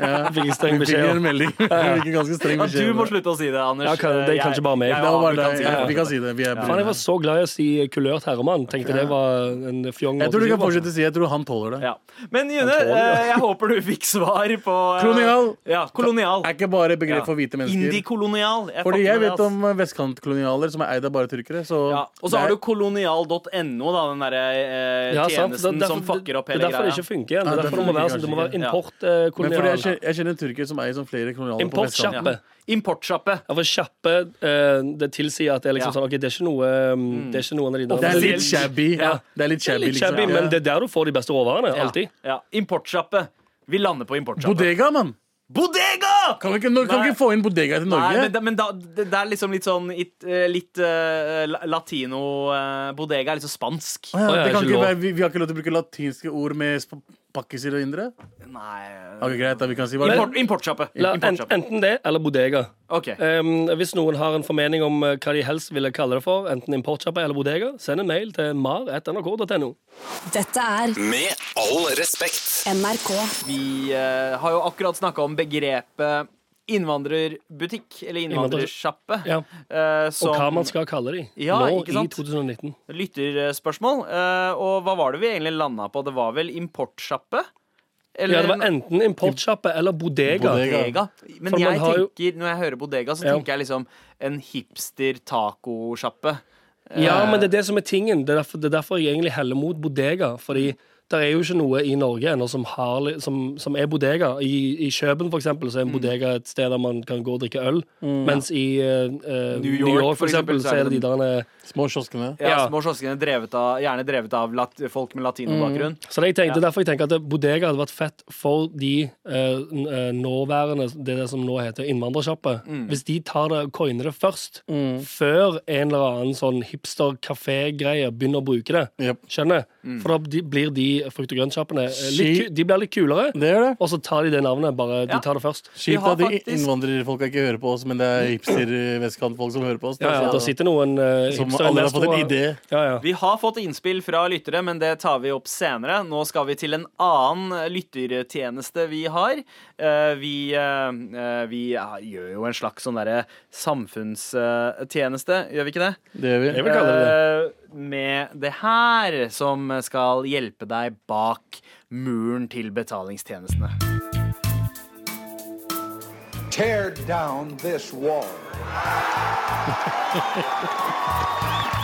[SPEAKER 7] Ja.
[SPEAKER 3] Fikk jeg streng
[SPEAKER 7] Mm. Vi fikk
[SPEAKER 3] beskjed
[SPEAKER 7] en
[SPEAKER 3] om.
[SPEAKER 7] melding. Vi fikk en ganske streng
[SPEAKER 6] Ja, du
[SPEAKER 7] beskjed. om
[SPEAKER 6] må
[SPEAKER 7] det.
[SPEAKER 6] slutte å si det, Anders.
[SPEAKER 3] Ja, kan- det er
[SPEAKER 6] Eh,
[SPEAKER 3] kanskje bare meg.
[SPEAKER 6] jeg-
[SPEAKER 7] Det var
[SPEAKER 6] du
[SPEAKER 7] bare
[SPEAKER 6] kan
[SPEAKER 7] deg.
[SPEAKER 6] si
[SPEAKER 7] Ja,
[SPEAKER 6] det.
[SPEAKER 7] Vi kan si det. Vi er
[SPEAKER 3] Faen, jeg var
[SPEAKER 7] brune.
[SPEAKER 3] så glad i å si eh, kulørt herremann. Tenkte det var en fjong
[SPEAKER 7] Jeg tror du
[SPEAKER 3] måte å si
[SPEAKER 7] kan
[SPEAKER 3] det
[SPEAKER 7] fortsette å si Jeg tror han tåler det.
[SPEAKER 6] Ja. Men June,
[SPEAKER 3] tåler det.
[SPEAKER 6] eh, jeg håper du fikk svar på eh,
[SPEAKER 7] Kolonial.
[SPEAKER 6] Ja, kolonial.
[SPEAKER 7] Er ikke bare et
[SPEAKER 6] Ja.
[SPEAKER 7] begrep for hvite mennesker.
[SPEAKER 6] Indikolonial. Jeg fatter
[SPEAKER 7] Fordi jeg
[SPEAKER 6] det,
[SPEAKER 7] vet
[SPEAKER 6] ass.
[SPEAKER 7] om vestkantkolonialer som er eid av bare tyrkere. Så
[SPEAKER 6] ja. Og så har du kolonial.no, da, den derre eh,
[SPEAKER 3] på. Ja, sant. Det er
[SPEAKER 6] tjenesten som
[SPEAKER 3] derfor-
[SPEAKER 6] fucker opp
[SPEAKER 3] det er
[SPEAKER 6] hele
[SPEAKER 3] derfor det
[SPEAKER 6] greia.
[SPEAKER 3] ikke funker igjen. Det
[SPEAKER 7] Ja,
[SPEAKER 3] er derfor det må
[SPEAKER 7] derfor
[SPEAKER 3] være
[SPEAKER 7] funker
[SPEAKER 3] sånn. Det må være
[SPEAKER 6] kanskje
[SPEAKER 7] Men fordi jeg
[SPEAKER 3] importkolonial.
[SPEAKER 7] kjenner, jeg kjenner tyrkere som eier sånn flere kolonialer på vestkanten.
[SPEAKER 3] Importkjappe.
[SPEAKER 6] Importsjappe.
[SPEAKER 3] Ja, for kjappe eh, Det tilsier at det er
[SPEAKER 6] Ja.
[SPEAKER 3] liksom
[SPEAKER 6] Mm.
[SPEAKER 3] sånn OK, det er ikke noe um, Det er ikke noen av de der
[SPEAKER 7] Det er litt
[SPEAKER 6] Offisiell-
[SPEAKER 7] shabby.
[SPEAKER 6] Ja.
[SPEAKER 7] Det er litt
[SPEAKER 3] Det er
[SPEAKER 7] shabby,
[SPEAKER 3] litt shabby,
[SPEAKER 7] liksom.
[SPEAKER 3] men det er der du får de beste råvarene. Alltid.
[SPEAKER 6] Ja. Importsjappe. Vi lander på importsjappe.
[SPEAKER 7] Bodega, mann!
[SPEAKER 6] Bodega!
[SPEAKER 7] Kan vi ikke, nå- kan vi
[SPEAKER 6] Nei.
[SPEAKER 7] ikke få inn bodega til
[SPEAKER 6] Nei,
[SPEAKER 7] Norge?
[SPEAKER 6] men, da, men da, det, det er liksom litt sånn it, eh, Litt eh, la- latino eh, Bodega er liksom spansk.
[SPEAKER 7] Å ja,
[SPEAKER 3] Å, ja,
[SPEAKER 7] det kan
[SPEAKER 3] ikke
[SPEAKER 7] ikke
[SPEAKER 3] lov.
[SPEAKER 7] være, vi, vi har ikke lov til å bruke latinske ord med sp- pakkiser og indre?
[SPEAKER 6] Nei
[SPEAKER 7] Ok, Greit, da vi kan si hva
[SPEAKER 6] Import, Importsjappe.
[SPEAKER 3] La, en,
[SPEAKER 6] Importsjappe.
[SPEAKER 3] enten det eller bodega.
[SPEAKER 6] Ok.
[SPEAKER 3] Um, hvis noen har en formening om eh, hva de helst ville kalle det for, enten importsjappa eller bodega, send en mail til mar.nrk.no.
[SPEAKER 5] Dette er
[SPEAKER 1] Med all respekt.
[SPEAKER 5] NRK.
[SPEAKER 6] Vi eh, har jo akkurat snakka om begrepet innvandrerbutikk, eller innvandrersjappe.
[SPEAKER 3] Ja.
[SPEAKER 6] eh, som-
[SPEAKER 3] Og hva man skal kalle de
[SPEAKER 6] Ja,
[SPEAKER 3] nå
[SPEAKER 6] ikke
[SPEAKER 3] i
[SPEAKER 6] sant?
[SPEAKER 3] 2019.
[SPEAKER 6] lytterspørsmål. eh, og hva var det vi egentlig landa på? Det var vel importsjappe? Eller
[SPEAKER 3] Ja, det var enten importsjappe eller bodega.
[SPEAKER 7] Bodega.
[SPEAKER 6] bodega. Men
[SPEAKER 3] For man
[SPEAKER 6] jeg
[SPEAKER 3] har jo-
[SPEAKER 6] tenker, når jeg hører bodega, så
[SPEAKER 3] Ja.
[SPEAKER 6] tenker jeg liksom en hipster-tacosjappe.
[SPEAKER 3] Ja, men det er det som er tingen. Det er derfor, det er derfor jeg egentlig heller mot bodega. Fordi det er jo ikke noe i Norge ennå som, har, li- som, som er bodega. I, i Kjøben, for eksempel, så er en bodega et sted der man kan gå og drikke øl. Mens i eh, eh, New, York, for eksempel, så er det de der eh,
[SPEAKER 7] Små kioskene.
[SPEAKER 6] Ja,
[SPEAKER 3] Ja.
[SPEAKER 6] Små kioskene drevet av, gjerne drevet av lat folk med latinobakgrunn.
[SPEAKER 3] Så det jeg tenkte, Derfor jeg tenker at det- bodega hadde vært fett for de eh, n- eh, nåværende det, er det som nå heter innvandrersjappe.
[SPEAKER 7] Mm.
[SPEAKER 3] Hvis de tar det og coiner det først, før en eller annen sånn hipster-kafé-greie begynner å bruke det.
[SPEAKER 7] Jep. Mm.
[SPEAKER 3] Skjønner? For da bli- blir de frukt- og grøntsjappene eh, litt ku- De blir litt kulere,
[SPEAKER 7] Det gjør det.
[SPEAKER 3] og så tar de det navnet. Bare de
[SPEAKER 6] Ja.
[SPEAKER 3] tar det først.
[SPEAKER 7] Kjipt
[SPEAKER 6] har
[SPEAKER 7] at de
[SPEAKER 6] faktisk-
[SPEAKER 7] innvandrerfolka ikke hører på oss, men det er hipster-vestkantfolk som hører på oss.
[SPEAKER 3] Ja, ja,
[SPEAKER 7] Så-
[SPEAKER 3] Da sitter noen uh,
[SPEAKER 7] som alle har fått en idé.
[SPEAKER 3] Ja, ja.
[SPEAKER 6] Vi har fått innspill fra lyttere, men det tar vi opp senere. Nå skal vi til en annen lyttertjeneste vi har. Eh, Vi, eh, eh, vi ja, gjør jo en slags sånn derre samfunnstjeneste, gjør vi ikke det?
[SPEAKER 7] Det gjør vi.
[SPEAKER 3] vil kalle
[SPEAKER 6] Eh, Med det her, som skal hjelpe deg bak muren til betalingstjenestene.
[SPEAKER 5] Tear down this wall.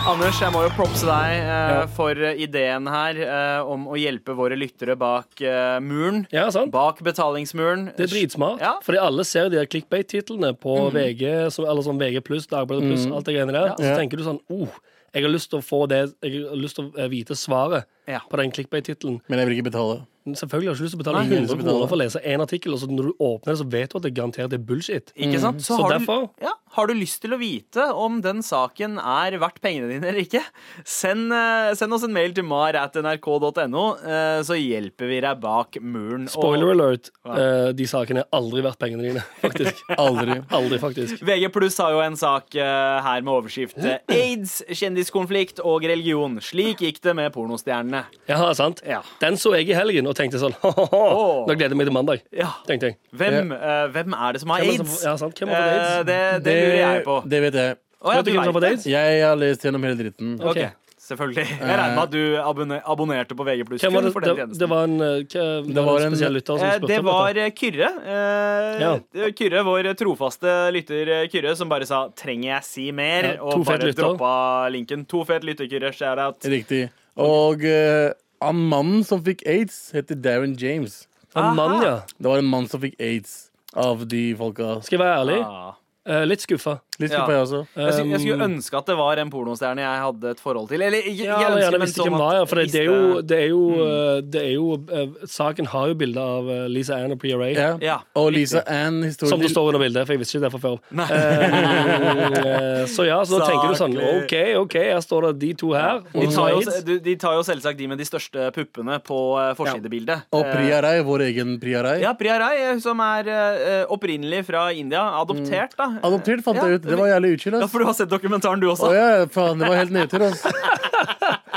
[SPEAKER 6] Anders, jeg må jo propse deg eh, for ideen her eh, om å hjelpe våre lyttere bak eh, muren.
[SPEAKER 3] Ja, sant?
[SPEAKER 6] Bak betalingsmuren.
[SPEAKER 3] Det er dritsmart.
[SPEAKER 6] Ja. Mhm.
[SPEAKER 3] Fordi alle ser de der clickbait-titlene på VG som, eller sånn VG pluss, Dagbladet pluss, alt det greiene der. Så
[SPEAKER 7] Ja.
[SPEAKER 3] tenker du sånn oh, jeg har lyst til å få det Jeg har lyst til å eh, vite svaret
[SPEAKER 6] Ja.
[SPEAKER 3] på den clickbait-tittelen.
[SPEAKER 7] Men jeg vil ikke betale.
[SPEAKER 3] Men Selvfølgelig har du ikke lyst til å betale
[SPEAKER 7] Nei, ingen
[SPEAKER 3] 100
[SPEAKER 7] som betaler.
[SPEAKER 3] kroner for å lese én artikkel, og så når du åpner det, så vet du at det garantert er bullshit.
[SPEAKER 6] Ikke sant?
[SPEAKER 3] Så
[SPEAKER 6] har
[SPEAKER 3] derfor-
[SPEAKER 6] du, ja, har du lyst til å vite om den saken er verdt pengene dine eller ikke, send, eh, send oss en mail til mar.nrk.no, eh, så hjelper vi deg bak muren.
[SPEAKER 3] Spoiler
[SPEAKER 6] Og
[SPEAKER 3] alert, eh, de sakene er aldri verdt pengene dine, faktisk.
[SPEAKER 7] Aldri.
[SPEAKER 3] Aldri, faktisk.
[SPEAKER 6] VG pluss har jo en sak eh, her med overskrift eh, Aids, kjendiskonflikt og religion. Slik gikk det med pornostjernene.
[SPEAKER 3] Ja, sant?
[SPEAKER 6] Ja.
[SPEAKER 3] Den så jeg i helgen og tenkte sånn Nå gleder jeg meg til mandag.
[SPEAKER 6] Ja.
[SPEAKER 3] Tenkte jeg.
[SPEAKER 6] Hvem, eh, hvem er det som har
[SPEAKER 3] Hvem er det som-
[SPEAKER 6] aids?
[SPEAKER 3] ja, sant. Hvem har fått
[SPEAKER 6] Eh,
[SPEAKER 3] aids?
[SPEAKER 6] det, det lurer jeg på.
[SPEAKER 7] Det vet jeg.
[SPEAKER 6] Å, ja,
[SPEAKER 3] Vet du hvem som har fått aids?
[SPEAKER 7] Jeg har lest gjennom hele dritten.
[SPEAKER 6] Ok, Selvfølgelig. Jeg regner med at du abonner, abonnerte på VG pluss
[SPEAKER 3] Hvem var
[SPEAKER 6] kun
[SPEAKER 3] det,
[SPEAKER 6] for
[SPEAKER 3] det,
[SPEAKER 6] den tjenesten.
[SPEAKER 3] det var en, eh, hva-
[SPEAKER 7] var
[SPEAKER 3] var det en
[SPEAKER 7] en-
[SPEAKER 3] spesiell lytter som
[SPEAKER 6] Eh,
[SPEAKER 3] spurte
[SPEAKER 6] Det
[SPEAKER 3] om dette?
[SPEAKER 6] var eh, Kyrre. Eh,
[SPEAKER 3] Ja.
[SPEAKER 6] det var Kyrre, vår trofaste lytter eh, Kyrre, som bare sa 'trenger jeg si mer?'
[SPEAKER 3] Ja, to
[SPEAKER 6] og
[SPEAKER 3] fet
[SPEAKER 6] bare
[SPEAKER 3] lytter.
[SPEAKER 6] droppa linken. To fet lytter, Kyrre. Shout-out.
[SPEAKER 7] Riktig. Og eh, han mannen som fikk aids, heter Darren James.
[SPEAKER 3] En mann, ja.
[SPEAKER 7] Det var en mann som fikk aids av de folka.
[SPEAKER 3] Skal jeg være ærlig?
[SPEAKER 6] Ah.
[SPEAKER 3] Eh, litt skuffa.
[SPEAKER 7] Litt
[SPEAKER 6] Ja. Eh,
[SPEAKER 7] skuffa, jeg også.
[SPEAKER 6] Jeg, skulle, jeg skulle ønske at det var en pornostjerne jeg hadde et forhold til. Eller jeg,
[SPEAKER 3] Um, Ja,
[SPEAKER 6] jeg
[SPEAKER 3] jeg
[SPEAKER 6] ønsker,
[SPEAKER 3] gjerne
[SPEAKER 6] men
[SPEAKER 3] visste
[SPEAKER 6] sånn
[SPEAKER 3] hvem det var,
[SPEAKER 6] at
[SPEAKER 3] ja, for det,
[SPEAKER 6] jeg
[SPEAKER 3] det er jo,
[SPEAKER 6] visste-
[SPEAKER 3] det er jo,
[SPEAKER 6] Mm.
[SPEAKER 3] eh, det er jo eh, Saken har jo bilde av eh, Lisa Ann og Priya Ray,
[SPEAKER 7] Ja.
[SPEAKER 6] Ja,
[SPEAKER 7] Og Lisa Ann, historien
[SPEAKER 3] som det
[SPEAKER 7] til-
[SPEAKER 3] står under bildet, for jeg visste ikke det fra før. Eh, så ja, så da tenker du sånn OK, OK, her står det de to her. Og
[SPEAKER 6] de
[SPEAKER 3] så
[SPEAKER 6] tar, jo,
[SPEAKER 3] AIDS.
[SPEAKER 6] du- de tar jo selvsagt de med de største puppene på eh, forsidebildet.
[SPEAKER 7] Og Priya Rai, vår egen Priya Rai.
[SPEAKER 6] Ja, Priya Rai, eh, som er eh, opprinnelig fra India. Adoptert, da.
[SPEAKER 3] Mm.
[SPEAKER 7] Adoptert, fant jeg ut. Det var jævlig utskilt.
[SPEAKER 6] Ja,
[SPEAKER 7] ass.
[SPEAKER 6] for du har sett dokumentaren, du
[SPEAKER 7] Å
[SPEAKER 6] også?
[SPEAKER 7] ja, faen, det var helt nedtur, altså.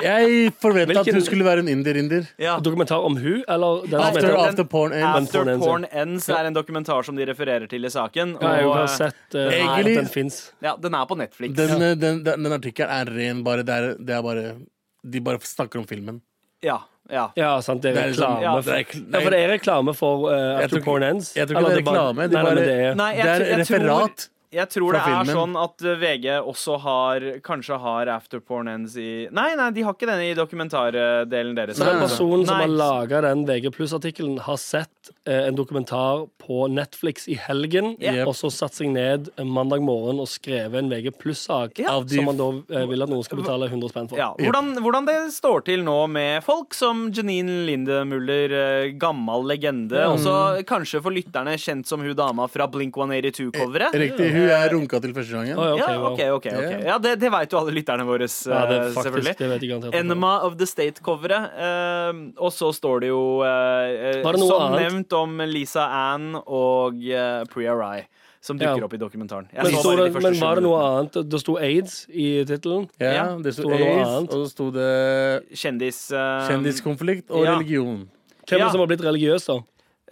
[SPEAKER 7] Jeg forventa at
[SPEAKER 3] Hvilken-
[SPEAKER 7] hun skulle være en indier-indier.
[SPEAKER 6] Ja.
[SPEAKER 3] Dokumentar om hun, eller den som
[SPEAKER 7] After,
[SPEAKER 3] heter
[SPEAKER 7] after porn end.
[SPEAKER 6] After
[SPEAKER 3] Porn Ends,
[SPEAKER 6] Porn Ends er en dokumentar som de refererer til i saken.
[SPEAKER 3] ja, Jeg
[SPEAKER 6] og,
[SPEAKER 3] har
[SPEAKER 6] eh,
[SPEAKER 3] sett eh, at
[SPEAKER 7] Egentlig-
[SPEAKER 3] den fins.
[SPEAKER 6] ja, den er på Netflix.
[SPEAKER 7] Den, eh, den, den, den artikkelen er ren bare det er, det er bare De bare snakker om filmen.
[SPEAKER 6] Ja, ja.
[SPEAKER 3] Ja, sant, det er
[SPEAKER 7] Det er liksom-
[SPEAKER 3] reklame.
[SPEAKER 6] ja,
[SPEAKER 3] for,
[SPEAKER 7] det er kl-
[SPEAKER 3] ja, for det er reklame for eh,
[SPEAKER 7] tror
[SPEAKER 3] After
[SPEAKER 7] ikke-
[SPEAKER 3] Porn Ends.
[SPEAKER 7] jeg tror ikke
[SPEAKER 3] Eller
[SPEAKER 7] det er
[SPEAKER 3] bare-
[SPEAKER 7] reklame, de
[SPEAKER 3] Nei, nei, men
[SPEAKER 7] bare-
[SPEAKER 3] det er
[SPEAKER 6] Nei, jeg,
[SPEAKER 7] det er
[SPEAKER 6] tr- jeg
[SPEAKER 7] referat.
[SPEAKER 6] Tror, jeg tror det
[SPEAKER 7] fra
[SPEAKER 6] er
[SPEAKER 7] filmen.
[SPEAKER 6] sånn at eh, VG også har Kanskje har After Porn Ends i Nei, nei, de har ikke den i dokumentardelen deres.
[SPEAKER 3] Så den personen som
[SPEAKER 6] Nei.
[SPEAKER 3] har laga den VG pluss-artikkelen, har sett eh, en dokumentar på Netflix i helgen,
[SPEAKER 6] Ja.
[SPEAKER 3] og så satt seg ned en mandag morgen og skrevet en VG pluss-sak
[SPEAKER 6] Ja.
[SPEAKER 7] Av de-
[SPEAKER 3] som man da eh, vil at noen skal betale 100 spenn for.
[SPEAKER 6] Ja, hvordan, hvordan det står til nå med folk som Janine Lindemuller, eh, gammel legende, også kanskje for lytterne kjent som hun dama fra Blink 182-coveret.
[SPEAKER 7] Riktig. Hun er runka til første gangen.
[SPEAKER 3] Å, ja, ok,
[SPEAKER 6] ja,
[SPEAKER 3] wow.
[SPEAKER 6] ok, ok, ok. Ja, det, det vet jo alle lytterne våre, eh,
[SPEAKER 3] Ja, det er
[SPEAKER 6] selvfølgelig.
[SPEAKER 3] faktisk, det vet jeg garantert. ikke.
[SPEAKER 6] Enema of the State-coveret. eh, og så står det jo, eh, eh,
[SPEAKER 3] Var det noe
[SPEAKER 6] som
[SPEAKER 3] annet?
[SPEAKER 6] nevnt, om Lisa Ann og eh, Priya Rai, som dukker
[SPEAKER 3] Ja.
[SPEAKER 6] opp i dokumentaren. Jeg
[SPEAKER 3] Men,
[SPEAKER 6] så bare
[SPEAKER 3] sto det,
[SPEAKER 6] de første
[SPEAKER 3] men
[SPEAKER 6] sju
[SPEAKER 3] var det noe
[SPEAKER 6] minuttene.
[SPEAKER 3] annet? Det sto aids i tittelen.
[SPEAKER 7] Ja,
[SPEAKER 6] Ja.
[SPEAKER 7] det sto
[SPEAKER 3] Sto det noe annet? Um,
[SPEAKER 7] aids, og så sto det
[SPEAKER 6] Kjendis... eh,
[SPEAKER 7] kjendiskonflikt og
[SPEAKER 6] ja.
[SPEAKER 7] religion.
[SPEAKER 3] Hvem er
[SPEAKER 6] Ja.
[SPEAKER 3] det som har blitt religiøs, da?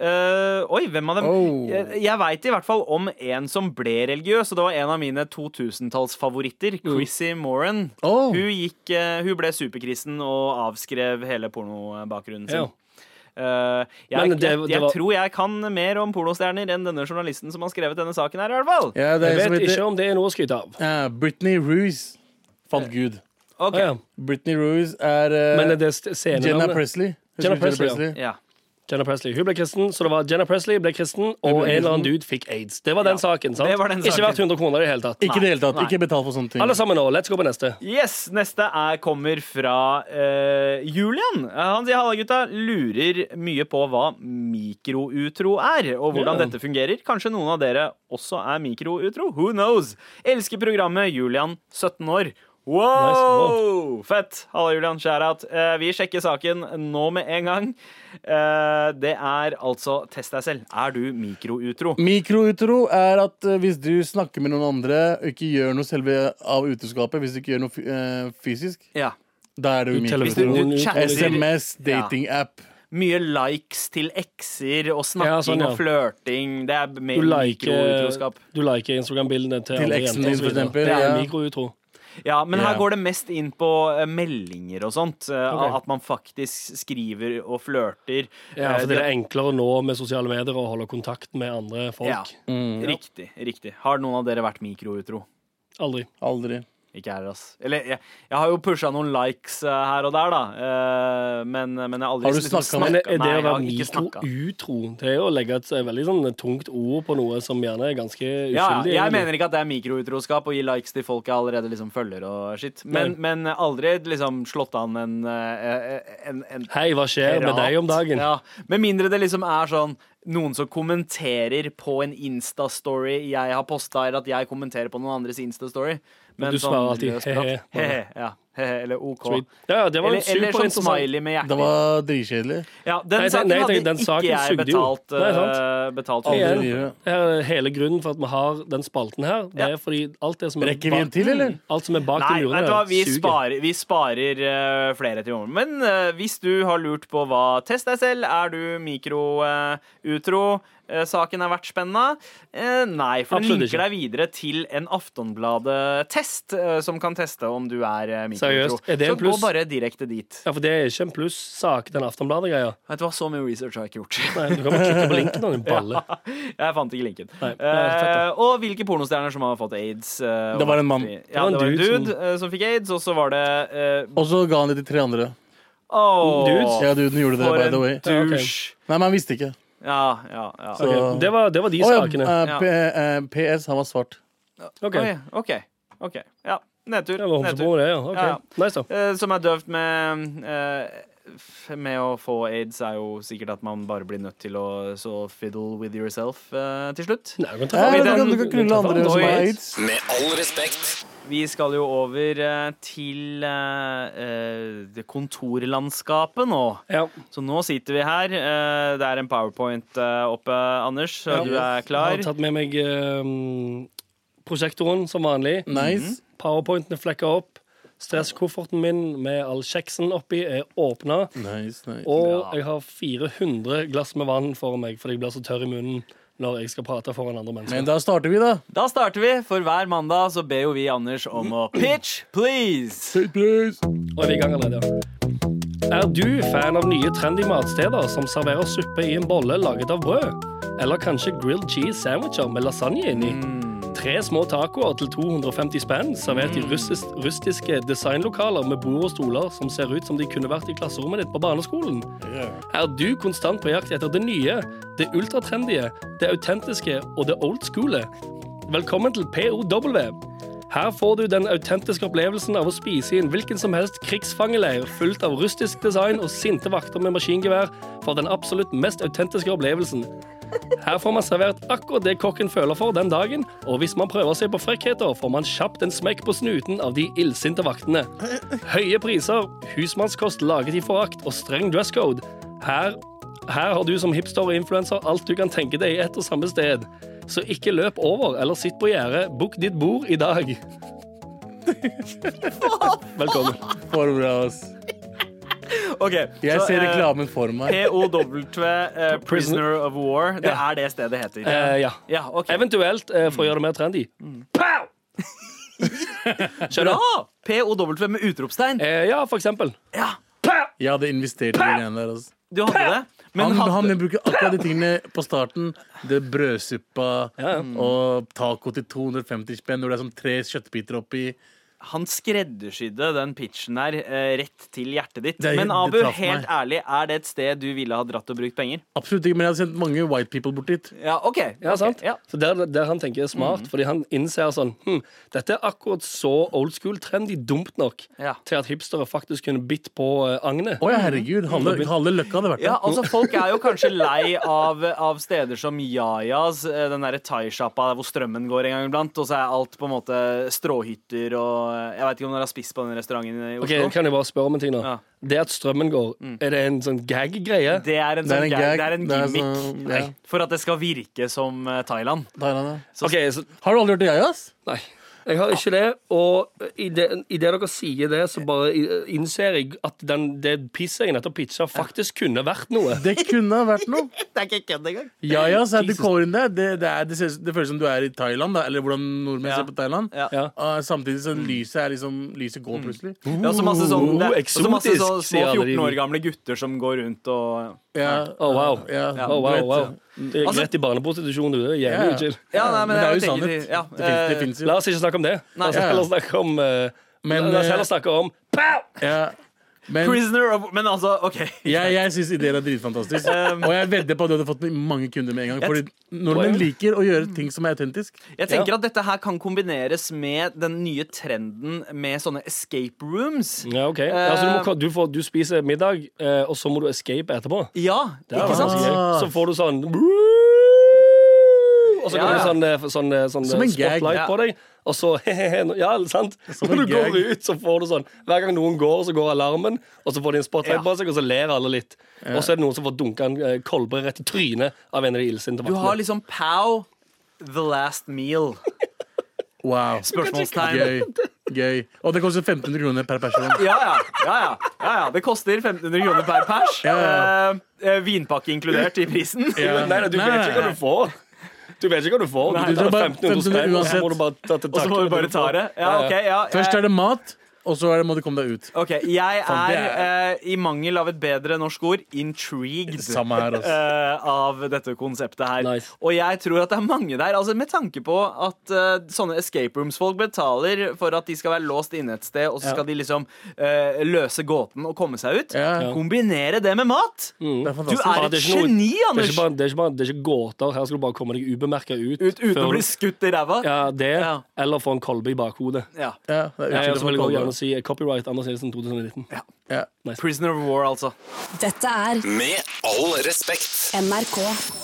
[SPEAKER 6] Eh, oi, hvem av dem?
[SPEAKER 7] Oh.
[SPEAKER 6] Jeg, jeg veit i hvert fall om en som ble religiøs, og det var en av mine 2000-tallsfavoritter,
[SPEAKER 3] Mm.
[SPEAKER 6] Chrissy Moran.
[SPEAKER 7] Oh,
[SPEAKER 6] Hun, gikk, eh, hun ble superkristen og avskrev hele pornobakgrunnen sin.
[SPEAKER 3] Ja.
[SPEAKER 6] Eh, jeg
[SPEAKER 3] Men det-
[SPEAKER 6] jeg,
[SPEAKER 3] det
[SPEAKER 6] jeg
[SPEAKER 3] var-
[SPEAKER 6] tror jeg kan mer om pornostjerner enn denne journalisten som har skrevet denne saken her, i hvert fall.
[SPEAKER 7] ja, det er
[SPEAKER 3] Jeg
[SPEAKER 7] en som
[SPEAKER 3] vet
[SPEAKER 7] heter
[SPEAKER 3] ikke om det er noe å skryte av.
[SPEAKER 7] Ja, Britney Roos fant Gud.
[SPEAKER 6] Ok.
[SPEAKER 3] Ah, ja.
[SPEAKER 7] Britney Roos er eh,
[SPEAKER 3] Men er det st-
[SPEAKER 7] Jenna
[SPEAKER 3] scenenavnet?
[SPEAKER 7] Presley. Husker
[SPEAKER 3] Jenna
[SPEAKER 7] du
[SPEAKER 3] Presley, ja.
[SPEAKER 6] Ja.
[SPEAKER 3] Jenna Presley. Hun ble kristen, så det var Jenna Presley ble kristen, og en eller annen dude fikk aids. Det var den saken, sant?
[SPEAKER 6] det var den saken.
[SPEAKER 3] Ikke verdt 100 kroner i det hele tatt.
[SPEAKER 7] Ikke i det hele tatt. Ikke betal for sånne ting.
[SPEAKER 3] Alle sammen nå, let's gå på neste.
[SPEAKER 6] Yes, neste er, kommer fra eh, Julian. Eh, Han sier halla, gutta. Lurer mye på hva mikroutro er, og hvordan
[SPEAKER 3] Ja.
[SPEAKER 6] dette fungerer. Kanskje noen av dere også er mikroutro? Who knows? Elsker programmet Julian, 17 år. Wow! Fett. Halla, Julian. Share-out. Eh, vi sjekker saken nå med en gang. Eh, det er altså test deg selv. Er du mikroutro?
[SPEAKER 7] Mikroutro er at eh, hvis du snakker med noen andre og ikke gjør noe selve av utroskapet, hvis du ikke gjør noe fy- eh, fysisk,
[SPEAKER 6] Ja.
[SPEAKER 7] da er det jo
[SPEAKER 6] Hvis du,
[SPEAKER 7] mikroutro.
[SPEAKER 6] du chatter
[SPEAKER 7] SMS, datingapp.
[SPEAKER 6] mye likes til ekser og snakking
[SPEAKER 3] Ja, sånn, ja.
[SPEAKER 6] og flørting. Det er mer
[SPEAKER 3] Du liker, eh,
[SPEAKER 6] mikroutroskap.
[SPEAKER 3] du liker Instagram-bildene til,
[SPEAKER 7] Til
[SPEAKER 3] andre
[SPEAKER 7] eksen
[SPEAKER 3] jenter
[SPEAKER 7] din,
[SPEAKER 3] og så videre.
[SPEAKER 7] for eksempel,
[SPEAKER 3] Det er
[SPEAKER 7] ja.
[SPEAKER 3] mikroutro.
[SPEAKER 6] Ja, men
[SPEAKER 7] Ja.
[SPEAKER 6] her går det mest inn på eh, meldinger og sånt. eh,
[SPEAKER 3] Ok.
[SPEAKER 6] At man faktisk skriver og flørter.
[SPEAKER 3] Ja,
[SPEAKER 6] Eh,
[SPEAKER 3] for
[SPEAKER 6] det-
[SPEAKER 3] det er enklere nå med sosiale medier å holde kontakt med andre folk. Mm.
[SPEAKER 6] Ja. Riktig. riktig Har noen av dere vært mikroutro?
[SPEAKER 3] Aldri.
[SPEAKER 7] Aldri.
[SPEAKER 6] Ikke her, ass. Eller jeg, jeg har jo pusha noen likes eh, her og der, da. Eh, men, men jeg har aldri
[SPEAKER 7] Har du
[SPEAKER 6] liksom
[SPEAKER 7] snakket med-
[SPEAKER 3] Men er det
[SPEAKER 6] Nei,
[SPEAKER 3] å
[SPEAKER 6] jeg
[SPEAKER 3] være
[SPEAKER 6] har ikke snakka.
[SPEAKER 3] mikroutro Det er jo å legge et eh, veldig sånn tungt ord på noe som gjerne er ganske uskyldig.
[SPEAKER 6] Ja, ja, jeg
[SPEAKER 3] egentlig.
[SPEAKER 6] mener ikke at det er mikroutroskap å gi likes til folk jeg allerede liksom følger og shit. Men, men aldri liksom slått an en, eh, en, en
[SPEAKER 3] Hei, hva skjer med
[SPEAKER 6] Rat.
[SPEAKER 3] deg om dagen?
[SPEAKER 6] Ja, Med mindre det liksom er sånn noen som kommenterer på en Insta-story jeg har posta, eller at jeg kommenterer på noen andres Insta-story. Men sånn
[SPEAKER 3] Du svarer alltid,
[SPEAKER 6] løst prat.
[SPEAKER 3] «Hehe», bare.
[SPEAKER 6] Hehe, ja. Hehe, eller OK.
[SPEAKER 3] Sweet. Ja, ja, det var
[SPEAKER 6] Eller,
[SPEAKER 3] en
[SPEAKER 6] eller sånn
[SPEAKER 3] superinteressant
[SPEAKER 6] smiley med hjerte.
[SPEAKER 7] Det var dritkjedelig.
[SPEAKER 6] Ja, den
[SPEAKER 3] Nei, jeg tenker-
[SPEAKER 6] saken
[SPEAKER 3] nei, jeg
[SPEAKER 6] hadde
[SPEAKER 3] tenker den saken
[SPEAKER 6] ikke jeg
[SPEAKER 3] sugde jo.
[SPEAKER 6] betalt,
[SPEAKER 3] Nei, sant.
[SPEAKER 6] eh, betalt for.
[SPEAKER 7] Aldri
[SPEAKER 3] Igjen.
[SPEAKER 7] videre.
[SPEAKER 3] Det er hele grunnen for at vi har den spalten her. Det er fordi alt det som er Mm.
[SPEAKER 7] Rekker vi en til, eller?
[SPEAKER 3] Alt som er bak
[SPEAKER 6] Nei,
[SPEAKER 3] de
[SPEAKER 6] vet
[SPEAKER 3] murene,
[SPEAKER 6] du hva? Vi
[SPEAKER 3] suger.
[SPEAKER 6] sparer, vi sparer eh, flere til i morgen. Men eh, hvis du har lurt på hva Test deg selv, er du mikroutro? Eh, saken har vært spennende. Eh, nei, for den
[SPEAKER 3] Absolutt
[SPEAKER 6] linker
[SPEAKER 3] ikke.
[SPEAKER 6] deg videre til en Aftonbladet-test eh, som kan teste om du er uh, mikroutro.
[SPEAKER 3] Seriøst? Er det
[SPEAKER 6] Så
[SPEAKER 3] en pluss?
[SPEAKER 6] gå bare direkte dit.
[SPEAKER 3] Ja, for det er ikke en plussak, den Aftenbladet-greia.
[SPEAKER 6] Vet du hva, så mye research har jeg ikke gjort.
[SPEAKER 3] Nei, Du kan bare klikke på linken og en balle.
[SPEAKER 6] Jeg fant ikke linken.
[SPEAKER 3] Nei, det er fett,
[SPEAKER 6] Eh, og hvilke pornostjerner som har fått aids. eh,
[SPEAKER 7] Det var en
[SPEAKER 6] og-
[SPEAKER 7] mann.
[SPEAKER 6] Ja, det var en dude,
[SPEAKER 3] som-
[SPEAKER 6] eh, som fikk aids, og så var det eh,
[SPEAKER 7] Og så ga han det til tre andre.
[SPEAKER 6] åh,
[SPEAKER 3] Dudes?
[SPEAKER 7] Ja, duden gjorde det,
[SPEAKER 6] For
[SPEAKER 7] by
[SPEAKER 6] en
[SPEAKER 7] the way.
[SPEAKER 3] Ja, ok.
[SPEAKER 6] douche.
[SPEAKER 7] Nei, men han visste ikke.
[SPEAKER 6] Ja, ja, ja.
[SPEAKER 7] Så
[SPEAKER 3] Ok, Det, var, det var de
[SPEAKER 7] Å, ja,
[SPEAKER 3] sakene.
[SPEAKER 7] eh,
[SPEAKER 6] Ja.
[SPEAKER 7] P- eh, PS, han var svart.
[SPEAKER 3] Ok,
[SPEAKER 6] Oi, OK. ok, Ja. Nedtur.
[SPEAKER 3] det var
[SPEAKER 6] nedtur.
[SPEAKER 3] homsebro, det, ja.
[SPEAKER 6] Ja, ja.
[SPEAKER 3] Ok, Nice, da.
[SPEAKER 6] Eh, som er døvt med eh, f- med å få aids er jo sikkert at man bare blir nødt til å så fiddle with yourself eh, til slutt.
[SPEAKER 3] Nei, du kan ta
[SPEAKER 7] Ja,
[SPEAKER 3] fram
[SPEAKER 7] du kan, du kan
[SPEAKER 3] den-
[SPEAKER 7] knulle
[SPEAKER 3] ta fram
[SPEAKER 7] andre
[SPEAKER 3] den.
[SPEAKER 7] som
[SPEAKER 6] Oi.
[SPEAKER 7] har aids.
[SPEAKER 1] Med all respekt.
[SPEAKER 6] Vi skal jo over eh, til eh, eh, det kontorlandskapet nå.
[SPEAKER 3] Ja.
[SPEAKER 6] Så nå sitter vi her. Eh, Det er en powerpoint eh, oppe, Anders. Så
[SPEAKER 3] Ja.
[SPEAKER 6] du er
[SPEAKER 3] Jeg har
[SPEAKER 6] klar.
[SPEAKER 3] tatt med meg ehm, prosjektoren som vanlig. Mhm.
[SPEAKER 7] Nice.
[SPEAKER 3] Powerpointene flekka opp. Stresskofferten min med all kjeksen oppi er åpna.
[SPEAKER 7] nice, nice.
[SPEAKER 3] Og jeg har 400 glass med vann for meg, fordi jeg blir så tørr i munnen når jeg skal prate foran andre
[SPEAKER 7] Men
[SPEAKER 3] mennesker.
[SPEAKER 7] da starter vi, da.
[SPEAKER 6] Da starter vi, for hver mandag så ber jo vi Anders om å pitch, please!
[SPEAKER 3] Og er vi i gang allerede? ja. Er du fan av nye trendy matsteder som serverer suppe i en bolle laget av brød? Eller kanskje grilled cheese sandwicher med lasagne inni? Tre små tacoer til 250 spenn, servert i russis- rustiske designlokaler med bord og stoler som ser ut som de kunne vært i klasserommet ditt på barneskolen. Er du konstant på jakt etter det nye, det ultratrendige, det autentiske og det old schoole? Velkommen til POW. Her får du den autentiske opplevelsen av å spise i en hvilken som helst krigsfangeleir fullt av rustisk design og sinte vakter med maskingevær for den absolutt mest autentiske opplevelsen. Her får man servert akkurat det kokken føler for den dagen, og hvis man prøver seg på frekkheter, får man kjapt en smekk på snuten av de illsinte vaktene. Høye priser, husmannskost laget i forakt og streng dresscode. Her, her har du som hipster og influenser alt du kan tenke deg i ett og samme sted. Så ikke løp over eller sitt på gjerdet. Book ditt bord i dag. Velkommen.
[SPEAKER 7] For bra, ass.
[SPEAKER 6] Ok,
[SPEAKER 7] Jeg
[SPEAKER 6] så,
[SPEAKER 7] ser
[SPEAKER 6] eh,
[SPEAKER 7] reklamen for meg.
[SPEAKER 6] POW, eh, Prisoner of War. Det er det stedet heter.
[SPEAKER 3] Eh, ja.
[SPEAKER 6] Ja, ok.
[SPEAKER 3] Eventuelt, eh, for å gjøre det mer trendy Pow!
[SPEAKER 6] Bra!
[SPEAKER 3] Skjønner?
[SPEAKER 6] Ah, POW med utropstegn.
[SPEAKER 3] Eh, ja, for eksempel.
[SPEAKER 6] Ja,
[SPEAKER 7] Jeg hadde investert i de greiene der. ass.
[SPEAKER 6] du hadde det. Men
[SPEAKER 7] Han, han
[SPEAKER 6] hadde,
[SPEAKER 7] bruker akkurat de tingene på starten. Det Brødsuppa og taco til 250 spenn når det er sånn tre kjøttbiter oppi.
[SPEAKER 6] han skreddersydde den pitchen der eh, rett til hjertet ditt.
[SPEAKER 7] Det-
[SPEAKER 6] Men
[SPEAKER 7] det
[SPEAKER 6] Abu,
[SPEAKER 7] traff meg.
[SPEAKER 6] helt ærlig, er det et sted du ville ha dratt og brukt penger?
[SPEAKER 7] Absolutt ikke, men jeg hadde sendt mange white people bort dit.
[SPEAKER 6] Ja, ok.
[SPEAKER 3] Ja,
[SPEAKER 6] ok,
[SPEAKER 3] sant?
[SPEAKER 6] Ja. Mhm.
[SPEAKER 3] Så der, der han tenker er smart, fordi han innser sånn hm, Dette er akkurat så old school trendy dumt nok
[SPEAKER 6] Ja.
[SPEAKER 3] til at hipstere faktisk kunne bitt på eh, agnet.
[SPEAKER 7] Å ja, herregud. Halve, Mm. halve løkka hadde vært
[SPEAKER 6] Ja,
[SPEAKER 7] der.
[SPEAKER 6] altså Folk er jo kanskje lei av, av steder som Yayas, eh, den derre thaisjappa der hvor strømmen går en gang iblant, og så er alt på en måte stråhytter og eh, Jeg veit ikke om dere har spist på den restauranten i
[SPEAKER 3] Ok,
[SPEAKER 6] Oslo.
[SPEAKER 3] Kan jeg bare spørre om en ting nå?
[SPEAKER 6] Ja. Mm.
[SPEAKER 3] Det at strømmen går, er det en sånn gag-greie?
[SPEAKER 6] Det er en
[SPEAKER 7] Det
[SPEAKER 6] sånn
[SPEAKER 7] er en
[SPEAKER 6] gag,
[SPEAKER 7] gag.
[SPEAKER 6] det er en
[SPEAKER 7] Det er
[SPEAKER 6] gimmick
[SPEAKER 7] sånn- ja.
[SPEAKER 6] Nei, for at det skal virke som eh, Thailand.
[SPEAKER 7] Thailand, ja.
[SPEAKER 3] Ok, så,
[SPEAKER 7] Har du aldri hørt det, jeg, ass?
[SPEAKER 3] Nei. Jeg har ikke det, og idet dere sier det, så bare i- eh, innser jeg at den, det pisset jeg nettopp pitcha, faktisk kunne vært noe.
[SPEAKER 7] Det kunne ha vært noe.
[SPEAKER 6] Det er ikke kødd engang.
[SPEAKER 7] Ja, ja, så er det core in det. Det, det, er, det, ser, det føles som du er i Thailand, da, eller hvordan nordmenn
[SPEAKER 6] Ja.
[SPEAKER 7] ser på Thailand.
[SPEAKER 6] Ja. Mm.
[SPEAKER 3] Ja.
[SPEAKER 7] Ah, samtidig som lyset er liksom Lyset går plutselig.
[SPEAKER 6] Det er også masse, sånn, det er, også masse
[SPEAKER 3] eksotisk,
[SPEAKER 6] så, små
[SPEAKER 3] sier alle de.
[SPEAKER 6] 14 år gamle gutter som går rundt og
[SPEAKER 7] Ja.
[SPEAKER 3] Oh, wow.
[SPEAKER 7] Ja,
[SPEAKER 3] Oh, wow,
[SPEAKER 7] du vet,
[SPEAKER 3] wow. Det er
[SPEAKER 6] Altså-
[SPEAKER 3] greit i barneprostitusjon, du. Det er
[SPEAKER 7] Ja, ja.
[SPEAKER 3] jævlig chill.
[SPEAKER 6] Ja, nei, men,
[SPEAKER 7] Men det er
[SPEAKER 6] jeg
[SPEAKER 7] jo
[SPEAKER 6] tenker-
[SPEAKER 7] sannhet.
[SPEAKER 6] Ja,
[SPEAKER 7] Det finnes- det
[SPEAKER 6] eh,
[SPEAKER 7] finnes jo.
[SPEAKER 3] La oss ikke snakke om det. La oss
[SPEAKER 7] Nei.
[SPEAKER 3] heller snakke om eh,
[SPEAKER 7] Men,
[SPEAKER 3] La oss
[SPEAKER 7] eh,
[SPEAKER 3] heller snakke om Pow!
[SPEAKER 7] Ja. Men
[SPEAKER 6] Prisoner of Men altså, OK.
[SPEAKER 7] jeg, jeg syns ideen er dritfantastisk.
[SPEAKER 6] Um,
[SPEAKER 7] Og jeg vedder på at du hadde fått mange kunder med en gang. Fordi nordmenn liker å gjøre ting som er autentisk.
[SPEAKER 6] Jeg tenker at dette her kan kombineres med den nye trenden med sånne escape rooms.
[SPEAKER 3] Ja, ok
[SPEAKER 6] Eh,
[SPEAKER 3] altså, du, må, du, får, du spiser middag, eh, og så må du escape etterpå.
[SPEAKER 6] Ja,
[SPEAKER 3] Det er
[SPEAKER 6] ikke sant?
[SPEAKER 3] ganske
[SPEAKER 7] Ah.
[SPEAKER 3] gøy. Så får du sånn Og så
[SPEAKER 6] Ja,
[SPEAKER 3] kommer det
[SPEAKER 6] ja.
[SPEAKER 3] sånn, eh, sånn, eh, sånn
[SPEAKER 7] Som en
[SPEAKER 3] eh,
[SPEAKER 7] gag.
[SPEAKER 3] spotlight
[SPEAKER 6] Ja.
[SPEAKER 3] på deg, og så he-he-he Ja, sant?
[SPEAKER 7] en
[SPEAKER 3] Når du
[SPEAKER 7] gag.
[SPEAKER 3] går ut, så får du sånn Hver gang noen går, så går alarmen, og så får de en spotlight på seg, og så ler alle litt. Og så er det noen som får dunka en eh, kolbe rett i trynet av en av de illsinte
[SPEAKER 6] Du har
[SPEAKER 3] vaktene.
[SPEAKER 6] liksom Pow, The Last Meal.
[SPEAKER 7] Wow.
[SPEAKER 6] Spørsmålstegn.
[SPEAKER 7] Gøy. Gøy. Og det koster 1500 kroner per person.
[SPEAKER 6] Ja ja, ja, ja, ja, ja. Det koster 1500 kroner per pers.
[SPEAKER 7] Ja, ja.
[SPEAKER 6] Eh, eh, vinpakke inkludert i prisen.
[SPEAKER 7] Ja.
[SPEAKER 3] Nei, nei, du vet ikke hva du får. Du vet ikke hva du får. Du
[SPEAKER 7] du
[SPEAKER 3] betaler
[SPEAKER 7] bare
[SPEAKER 3] 1500 spenn, og så
[SPEAKER 7] uansett.
[SPEAKER 3] må du bare ta
[SPEAKER 6] sånn
[SPEAKER 3] til
[SPEAKER 6] Og så
[SPEAKER 3] takke
[SPEAKER 6] må
[SPEAKER 3] med
[SPEAKER 6] du bare
[SPEAKER 3] det
[SPEAKER 6] ta
[SPEAKER 3] får.
[SPEAKER 6] det. Ja, ok, ja,
[SPEAKER 7] Først er det mat, og så er det, må du komme deg ut.
[SPEAKER 6] Ok, Jeg er,
[SPEAKER 7] Faen, det
[SPEAKER 6] eh, i mangel av et bedre norsk ord, intrigued.
[SPEAKER 7] Samme her, altså.
[SPEAKER 6] eh, av dette konseptet her.
[SPEAKER 3] Nice.
[SPEAKER 6] Og jeg tror at det er mange der. Altså Med tanke på at eh, sånne escape rooms-folk betaler for at de skal være låst inne et sted, og så skal de liksom eh, løse gåten og komme seg ut.
[SPEAKER 7] Ja. Mm. Ja.
[SPEAKER 6] Kombinere det med mat!
[SPEAKER 7] Det er
[SPEAKER 6] Du
[SPEAKER 7] fantastisk.
[SPEAKER 6] er
[SPEAKER 3] Ja,
[SPEAKER 6] et
[SPEAKER 3] det er ikke noe-
[SPEAKER 6] geni,
[SPEAKER 3] Det er,
[SPEAKER 6] Anders!
[SPEAKER 3] ikke bare, det, er ikke bare, det er ikke gåter. Her skal du bare komme deg ubemerka ut.
[SPEAKER 6] Ut, uten å
[SPEAKER 3] før du-
[SPEAKER 6] bli skutt i ræva. Ja.
[SPEAKER 3] Ja, det,
[SPEAKER 6] Ja.
[SPEAKER 3] eller få en kolbe i bakhodet.
[SPEAKER 7] Ja, det er
[SPEAKER 3] Jeg, jeg vil
[SPEAKER 7] utrolig
[SPEAKER 3] jeg
[SPEAKER 7] for
[SPEAKER 3] også gjerne
[SPEAKER 7] kolde.
[SPEAKER 3] si eh, copyright Anders Nilsen 2019.
[SPEAKER 7] Ja.
[SPEAKER 6] Prisoner of war, altså.
[SPEAKER 8] Dette er
[SPEAKER 1] Med all respekt.
[SPEAKER 8] NRK.